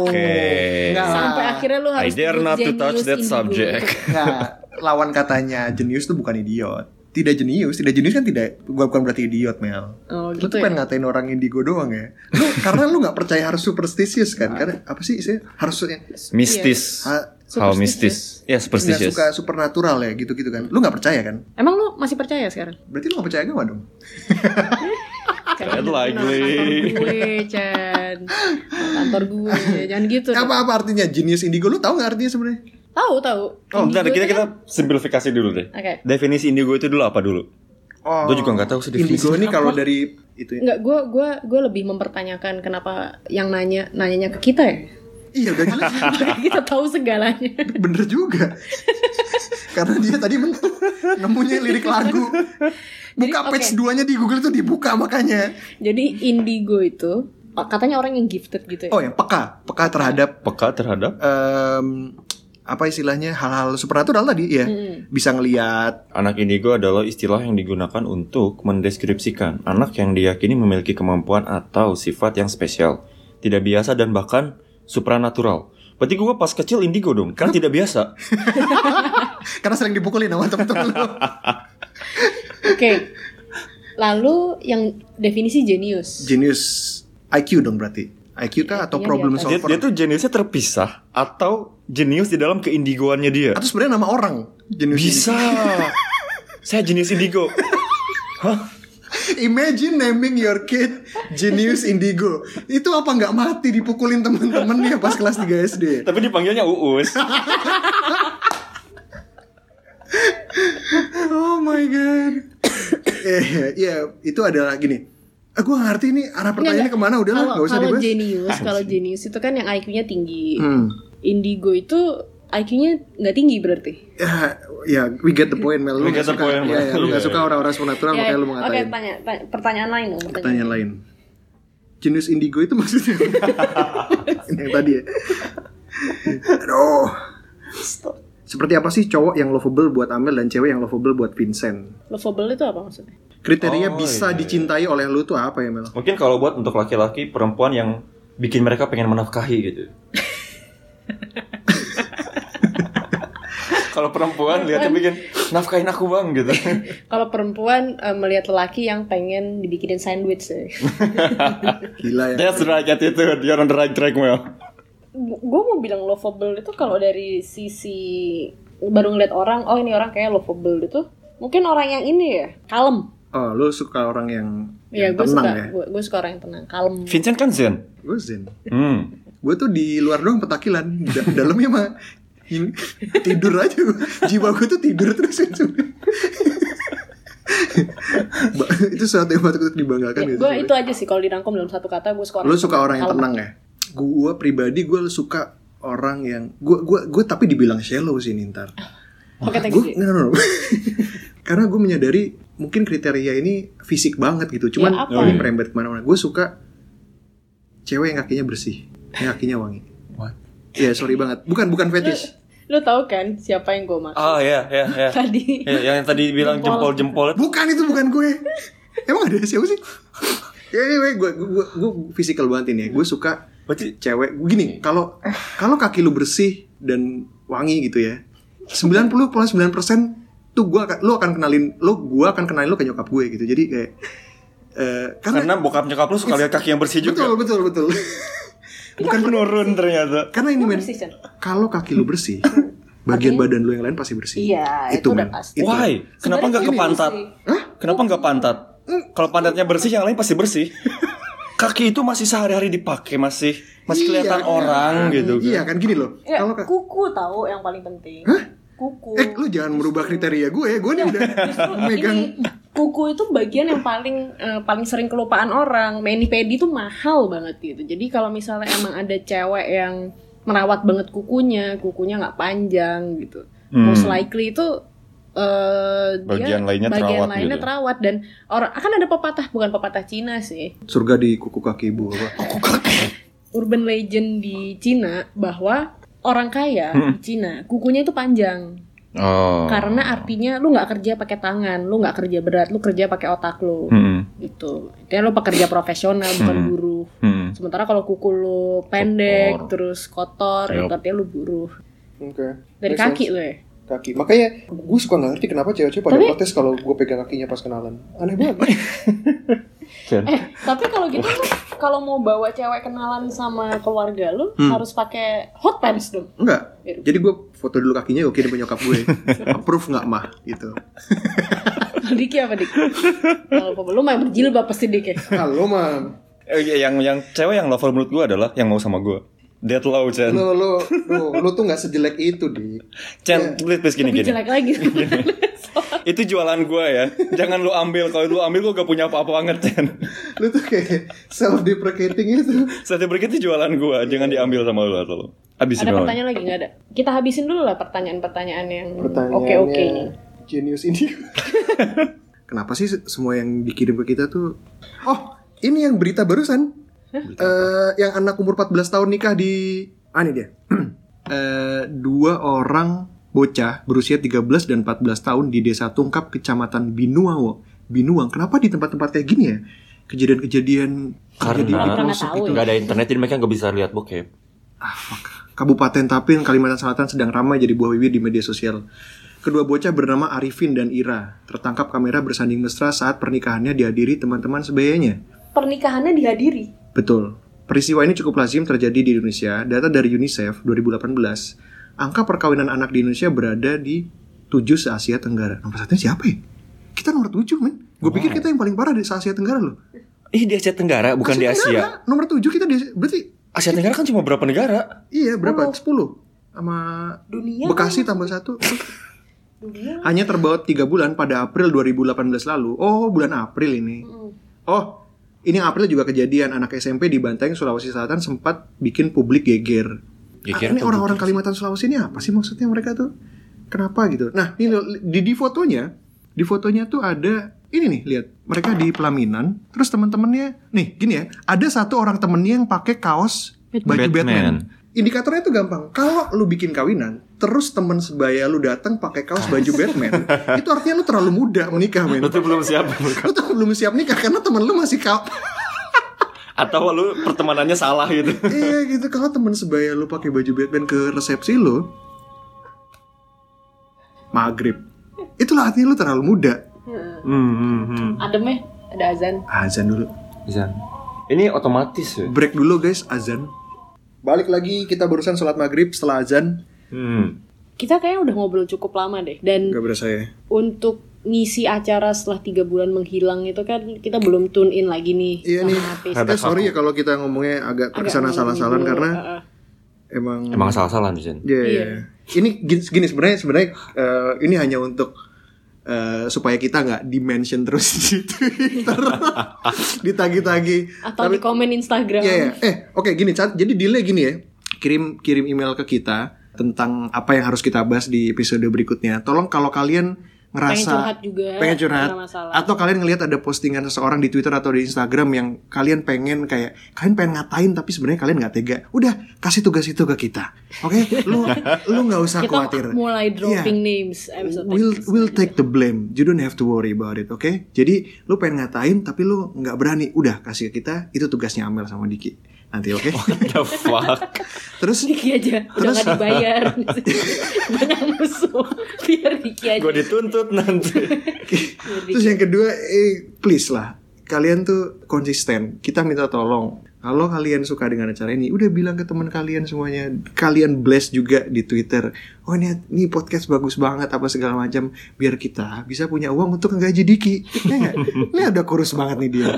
C: Oke.
B: Nggak.
A: Sampai akhirnya lu
C: Ah, I
A: harus
C: dare
A: nyebut
C: not to
A: jenius
C: touch that
A: indigo.
C: subject.
B: Nah, lawan katanya jenius tuh bukan idiot. tidak jenius, tidak jenius kan tidak gua bukan berarti idiot Mel.
A: Oh,
B: Lu
A: gitu
B: tuh
A: ya.
B: pengen ngatain orang indigo doang ya. Lu karena lu nggak percaya harus superstitious
A: Ah.
B: kan? Karena apa sih sih harusnya
C: Mistis.
B: ha-
C: How
A: Superstitious.
C: mistis?
B: nggak
C: Ya, superstitious.
B: suka supernatural ya gitu-gitu kan? Lu nggak percaya kan?
A: Emang lu masih percaya sekarang?
B: Berarti lu nggak percaya agama dong?
C: Red
A: gitu. Nah, Kantor
C: likely.
A: gue, Chan. Kantor gue, jangan gitu. dong.
B: Apa apa artinya genius indigo? Lu tahu nggak artinya sebenarnya?
A: Tahu, tahu.
C: Oh, bentar,
A: Indigo
C: kita
A: itu
C: kita
A: kan-
C: simplifikasi dulu deh.
A: Oke.
C: Definisi indigo itu dulu apa dulu?
B: Oh.
C: Gua juga nggak tahu sih
B: Indigo
C: definisinya
B: ini kalau
C: apa.
B: dari itu ya.
A: Enggak, gue gua gua lebih mempertanyakan kenapa yang nanya nanyanya ke kita ya.
B: Iya udah jelas.
A: kita tahu segalanya.
B: Bener juga. Karena dia tadi men- nemunya lirik lagu. Buka
A: Jadi,
B: page duanya di Google itu dibuka makanya.
A: Jadi indigo itu katanya orang yang gifted gitu ya.
B: Oh yang peka, peka terhadap
C: Peka terhadap
B: em, apa istilahnya hal-hal supernatural tadi ya.
C: Hmm.
B: Bisa ngelihat
C: anak indigo adalah istilah yang digunakan untuk mendeskripsikan anak yang diyakini memiliki kemampuan atau sifat yang spesial, tidak biasa dan bahkan supranatural. Berarti gua pas kecil indigo dong, kan tidak biasa.
B: karena sering dipukulin sama temen-temen lu.
A: Oke. Lalu yang definisi jenius.
B: Genius IQ dong berarti. IQ kah atau
A: Iya, di
B: problem
A: atas.
C: Dia,
B: solver?
C: dia tuh jeniusnya terpisah atau jenius di dalam keindigoannya dia.
B: Atau sebenarnya nama orang. Genius
C: Bisa. Saya jenius indigo.
B: Imagine naming your kid Genius Indigo. Itu apa nggak mati dipukulin temen-temennya pas kelas 3 SD?
C: Tapi dipanggilnya Uus.
B: Oh my god. Eh, ya, ya, itu adalah gini. Eh, gue ngerti ini arah pertanyaannya kemana udah lah nggak
A: Kalau
B: usah
A: kalau
B: dibahas.
A: jenius, kalau jenius itu kan yang IQ-nya tinggi.
B: Hmm.
A: Indigo itu IQ-nya nggak tinggi berarti.
B: Ya, ya, we get the point Mel. Lu
C: We
B: nggak
C: get the
B: suka,
C: point,
B: ya,
C: Mel.
B: ya, lu nggak
C: Iya,
B: suka
C: iya.
B: orang-orang supernatural
A: Ya,
B: Nah, makanya lu mau
A: Oke,
B: ngatain.
A: tanya, tanya- pertanyaan lain dong.
B: Pertanyaan lain. Genius Indigo itu maksudnya apa? Ini yang tadi ya. Aduh. Seperti apa sih cowok yang lovable buat Amel dan cewek yang lovable buat Vincent?
A: Lovable itu apa maksudnya?
B: Kriteria
C: Oh,
B: bisa
C: iya, iya.
B: dicintai oleh lu tuh apa ya Mel?
C: Mungkin kalau buat untuk laki-laki perempuan yang bikin mereka pengen menafkahi gitu. kalau perempuan lihatnya bikin nafkahin aku bang gitu.
A: Kalau perempuan eh, melihat lelaki yang pengen dibikinin sandwich ya.
B: Gila ya.
C: That's right attitude. You're on the right track Mel.
A: gue mau bilang lovable itu kalau dari sisi baru ngeliat orang, oh ini orang kayak lovable itu, mungkin orang yang ini ya, kalem.
B: Oh, lu suka orang yang,
A: Ya,
C: Iya,
B: yang
A: gue
B: tenang
A: suka,
B: ya?
A: gue, gue suka orang yang tenang, kalem.
C: Vincent kan Zen.
B: Gue zen.
C: Hmm.
B: Gue tuh di luar doang petakilan. Di da- dalamnya mah nying- tidur aja. gua. Jiwa gue tuh tidur terus. Ba- itu sesuatu yang patut
C: Ya,
B: dibanggakan gitu.
A: gue Ya, itu aja sih kalau dirangkum dalam satu kata gue suka.
B: Lu suka orang yang
A: kalem.
B: tenang ya? Gue pribadi gue suka orang yang gue gue gue tapi dibilang shallow sih ini ntar.
A: Oke, Ah, thank
B: Gue
A: you.
B: no, no, no. karena gue menyadari mungkin kriteria ini fisik banget gitu. Cuman
A: Ya, apa?
B: oh, ini merembet kemana-mana. Gue suka cewek yang kakinya bersih, yang kakinya wangi.
C: What?
B: Ya sorry banget. Bukan bukan fetish.
A: Lu tahu kan siapa yang gue maksud
C: Oh ya ya ya.
B: iya.
A: tadi?
C: Ya, yang tadi bilang jempol jempol
B: Bukan itu bukan gue. Emang ada siapa sih? Ya anyway, gue gue gue physical banget ini. Ya. Gue suka
C: Berarti-
B: cewek gini.
C: Hmm.
B: Kalau kalau kaki lu bersih dan wangi gitu ya. 90,9% tuh gua akan lu akan kenalin lu gua akan kenalin lu ke nyokap gue gitu. Jadi kayak eh, karena,
C: karena bokap nyokap lu suka lihat kaki yang bersih
B: betul
C: juga.
B: betul betul.
C: Bukan penurun ternyata.
B: karena ini
A: Lu
B: men
A: bersih, Chan.
B: kalau kaki lu bersih, bagian badan lu yang lain pasti bersih.
A: Iya, itu udah
B: men.
A: pasti.
B: Itu.
C: Why? Kenapa nggak ke
A: Sebenarnya
C: pantat?
A: ini
B: Hah? Hmm.
C: Kenapa nggak pantat? Kalau pantatnya bersih, yang lain pasti bersih. Kaki itu masih sehari-hari dipakai, masih masih kelihatan
B: Iya,
C: orang
B: kan.
C: gitu. kan.
B: Iya kan gini loh.
A: Ya,
B: Kalau kaki
A: kuku tahu yang paling penting.
B: Hah?
A: Kuku.
B: Eh, lu jangan merubah kriteria gue ya. Gue nih udah
A: Justru
B: megang.
A: ini kuku itu bagian yang paling eh, paling sering kelupaan orang. Mani pedi itu mahal banget gitu. Jadi kalau misalnya emang ada cewek yang merawat banget kukunya, kukunya nggak panjang gitu.
C: Hmm.
A: Most likely itu eh,
C: Bagian lainnya
A: bagian
C: terawat
A: lainnya
C: gitu.
A: terawat dan orang akan ada pepatah bukan pepatah Cina sih.
B: Surga di kuku kaki ibu apa?
A: Urban legend di Cina bahwa orang kaya di Cina kukunya itu panjang.
C: Hmm. Oh.
A: karena artinya lu nggak kerja pakai tangan, lu nggak kerja berat, lu kerja pakai otak lu.
C: Hmm,
A: Gitu. Dia lu pekerja profesional bukan
C: Hmm.
A: buruh.
C: hmm.
A: Sementara kalau kuku lu pendek
C: Kotor.
A: terus kotor, itu
C: Yup.
A: artinya lu buruh.
B: Oke.
A: Dari kaki lu ya.
E: kaki. Makanya gue suka nggak ngerti kenapa cewek-cewek pada
A: Tapi-
E: protes kalau gue pegang kakinya pas kenalan. Aneh
B: Oh, iya.
E: banget.
A: Eh, tapi kalau gitu tuh, kalau mau bawa cewek kenalan sama keluarga lu
B: Hmm.
A: harus pakai hot pants dong.
B: Enggak. Jadi gue foto dulu kakinya gue kirim ke nyokap gue. Approve nggak mah gitu.
A: Diki apa Dik? Kalau apa- lu main berjilbab pasti Dik ya.
E: Halo mam.
C: Eh, iya, yang yang cewek yang lover menurut gue adalah yang mau sama gue. Dead low, Chen.
E: Lo lo lo lo tuh nggak sejelek itu di.
B: iya.
C: Chen, please, please gini
A: Lebih
C: gini.
A: jelek lagi.
C: Itu jualan gue ya. Jangan lu ambil. Kalau lu ambil gue gak punya apa-apa banget, Chen.
E: Lo tuh kayak self deprecating itu.
C: Satu break itu jualan gue. Jangan diambil sama lu atau lu. Abisin
A: ada
C: doang.
A: pertanyaan lagi nggak ada? Kita habisin dulu lah pertanyaan-pertanian yang
E: Pertanyaannya
A: oke-oke ini.
E: Genius ini.
B: Kenapa sih se- semua yang dikirim ke kita tuh? Oh, ini yang berita barusan. Eh, yang anak umur 14 tahun nikah di ah ini dia. Eh, dua orang bocah berusia 13 dan 14 tahun di Desa Tungkap, Kecamatan Binuang. Binuang. Kenapa di tempat-tempat kayak gini ya? Kejadian-kejadian
C: Karena-
B: kejadian di
A: Orang nggak
B: pelosok
A: tahu
B: gitu.
A: ya.
C: Gak ada internet, jadi mereka gak bisa lihat bokep.
B: Ah, Kabupaten Tapin, Kalimantan Selatan sedang ramai jadi buah bibir di media sosial. Kedua bocah bernama Arifin dan Ira tertangkap kamera bersanding mesra saat pernikahannya dihadiri teman-teman sebayanya.
A: Pernikahannya dihadiri.
B: Betul. Peristiwa ini cukup lazim terjadi di Indonesia. Data dari UNICEF 2018, angka perkawinan anak di Indonesia berada di 7 se-Asia Tenggara. Nomor satunya siapa ya? Kita nomor 7, men. Gue pikir kita yang paling parah di se-Asia Tenggara loh.
C: Ih, di Asia Tenggara, bukan di Asia.
B: Tenggara, nomor 7 kita di Berarti,
C: Asia Tenggara kan cuma berapa negara?
B: iya berapa? 10. Sama
A: Dunia.
B: Bekasi tambah satu.
A: Dunia.
B: Hanya terbawa 3 bulan pada April 2018 lalu. Oh, bulan April ini. Oh, ini April juga kejadian anak SMP di Banteng, Sulawesi Selatan sempat bikin publik geger.
C: Geger
B: Ah, ini
C: atau
B: orang-orang
C: geger sih?
B: Kalimantan Sulawesi ini apa sih maksudnya mereka tuh? Kenapa gitu? Nah, ini lo- di, di fotonya, di fotonya tuh ada ini nih, lihat. Mereka di pelaminan, terus teman-temannya, nih gini ya, ada satu orang temennya yang pakai kaos baju Batman.
C: Batman.
B: Indikatornya tuh gampang. Kalau lu bikin kawinan, terus temen sebaya lu datang pakai kaos baju Batman, itu artinya lu terlalu muda menikah, men.
C: Lu tuh belum siap.
B: Lu tuh belum siap nikah karena temen lu masih kau
C: Atau lu pertemanannya salah gitu.
B: Iya gitu kalau temen sebaya lu pakai baju Batman ke resepsi lu maghrib itulah artinya lu terlalu muda
C: Hmm,
A: Adem ya, ada azan.
B: azan dulu
C: Zan. Ini otomatis ya.
B: break dulu guys azan balik lagi kita barusan sholat maghrib setelah azan
C: Hmm.
A: Kita kayaknya udah ngobrol cukup lama deh. Dan
B: nggak berasa ya
A: untuk ngisi acara setelah tiga bulan menghilang itu kan kita belum tune in lagi nih
B: Iya
A: sama
B: nih.
A: HP.
C: Ada
B: eh, sorry ya kalau kita ngomongnya agak
A: Agak
B: terkesana salah-salah
A: mengganggu.
B: karena
A: Heeh.
B: emang
C: Emang salah-salah nih, Zan.
B: Iya.
A: Iya.
B: Ini gini, gini sebenarnya sebenarnya eh, ini hanya untuk eh, supaya kita nggak dimention terus di Twitter, ditagi-tagi.
A: atau di komen Instagram.
B: Iya, iya. Eh, oke gini, Chan. jadi delay gini ya. Kirim kirim email ke kita tentang apa yang harus kita bahas di episode berikutnya. Tolong kalau kalian
A: Pengen
B: ngerasa
A: curhat juga.
B: pengen curhat
A: nggak masalah.
B: atau kalian ngelihat ada postingan seseorang di Twitter atau di Instagram yang kalian pengen kayak kalian pengen ngatain tapi sebenarnya kalian nggak tega udah kasih tugas itu ke kita oke lu lu nggak usah
A: kita
B: khawatir
A: mulai dropping
B: Iya.
A: names episode
B: We'll we'll take the blame. You don't have to worry about it, oke? Jadi lu pengen ngatain tapi lu nggak berani. Udah kasih ke kita. Itu tugasnya Amel sama Diki nanti, oke?
C: The fuck.
B: Terus
A: Diki aja udah nggak dibayar banyak musuh biar Diki aja
C: Gue dituntut nanti.
B: Terus yang kedua, eh, please lah, kalian tuh konsisten. Kita minta tolong. Kalau kalian suka dengan acara ini, udah bilang ke teman kalian semuanya. Kalian bless juga di Twitter. Oh ini, ini podcast bagus banget apa segala macam. Biar kita bisa punya uang untuk ngegaji Diki. Ya nggak? ini udah kurus banget nih dia.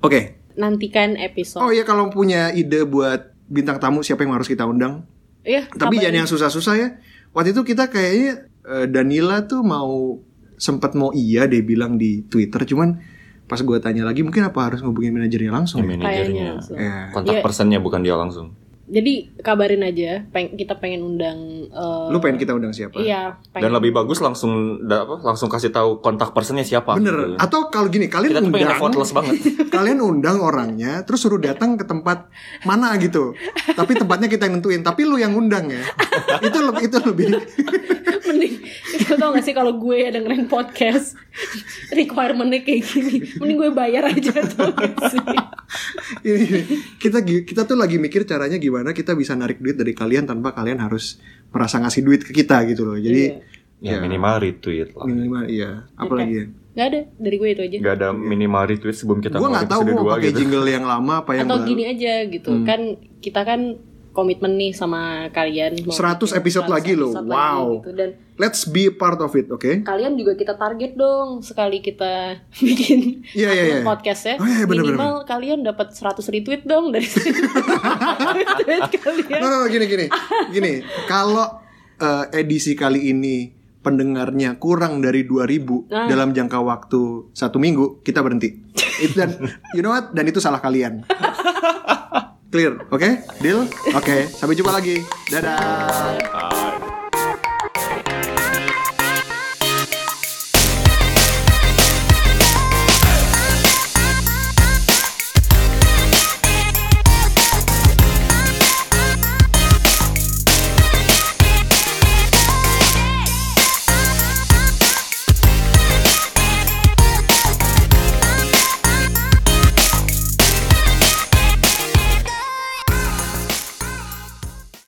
B: Oke.
A: nantikan episode
B: Oh iya kalau punya ide buat bintang tamu siapa yang harus kita undang?
A: Iya,
B: Tapi
A: kabarin.
B: jangan yang susah-susah ya. Waktu itu kita kayaknya eh, Danila tuh mau sempat mau iya deh bilang di Twitter, cuman pas gue tanya lagi mungkin apa harus ngubungin manajernya langsung ya?
A: kayaknya
C: Manajernya.
A: langsung.
B: Ya.
C: Kontak
A: Iya.
C: personnya bukan dia langsung.
A: jadi kabarin aja peng kita pengen undang eh,
B: Lu pengen kita undang siapa?
A: iya
C: Dan
A: pengen
C: lebih bagus langsung da- apa, langsung kasih tahu kontak personnya siapa.
B: Bener.
C: Gitu.
B: Atau kalau gini kalian
C: Kita tuh pengen
B: undang,
C: effortless banget.
B: kalian undang orangnya, terus suruh datang ke tempat mana gitu. Tapi tempatnya kita yang nentuin, tapi lu yang undang ya. itu lebih itu lebih
A: mending lu tau gak sih kalau gue dengerin podcast requirementnya kayak gini mending gue bayar aja tau gak sih
B: Ini- ini. Iya, kita gi- kita tuh lagi mikir caranya gimana kita bisa narik duit dari kalian tanpa kalian harus merasa ngasih duit ke kita gitu loh.
A: Iya.
B: Jadi
C: Ya,
B: Ya.
C: minimal retweet lah.
B: minimal iya. Apalagi ya.
A: nggak ada dari gue itu aja
C: Gak ada minimal retweet sebelum kita
B: Gue
C: ngomong
B: nggak tahu
C: episode
B: mau
C: dua
B: pakai
C: gitu.
B: jingle yang lama apa yang
A: atau
B: baru.
A: gini aja gitu
B: Hmm.
A: kan kita kan komitmen nih sama kalian mau
B: 100 episode
A: 100
B: lagi loh.
A: episode
B: Wow.
A: gitu. dan
B: Let's be a part of it, oke?
A: kalian juga kita target dong sekali kita bikin
B: Iya, iya, iya.
A: podcast ya
B: Oh, iya, iya, bener,
A: minimal kalian dapat 100 retweet dong dari retweet kalian
B: No, no, no, gini gini. Gini, kalau eh, edisi kali ini pendengarnya kurang dari 2000
A: Ah.
B: dalam jangka waktu satu minggu, kita berhenti. It- dan you know what? Dan itu salah kalian. Clear, oke? Deal? Oke, sampai jumpa lagi. Dadah.
C: Ah,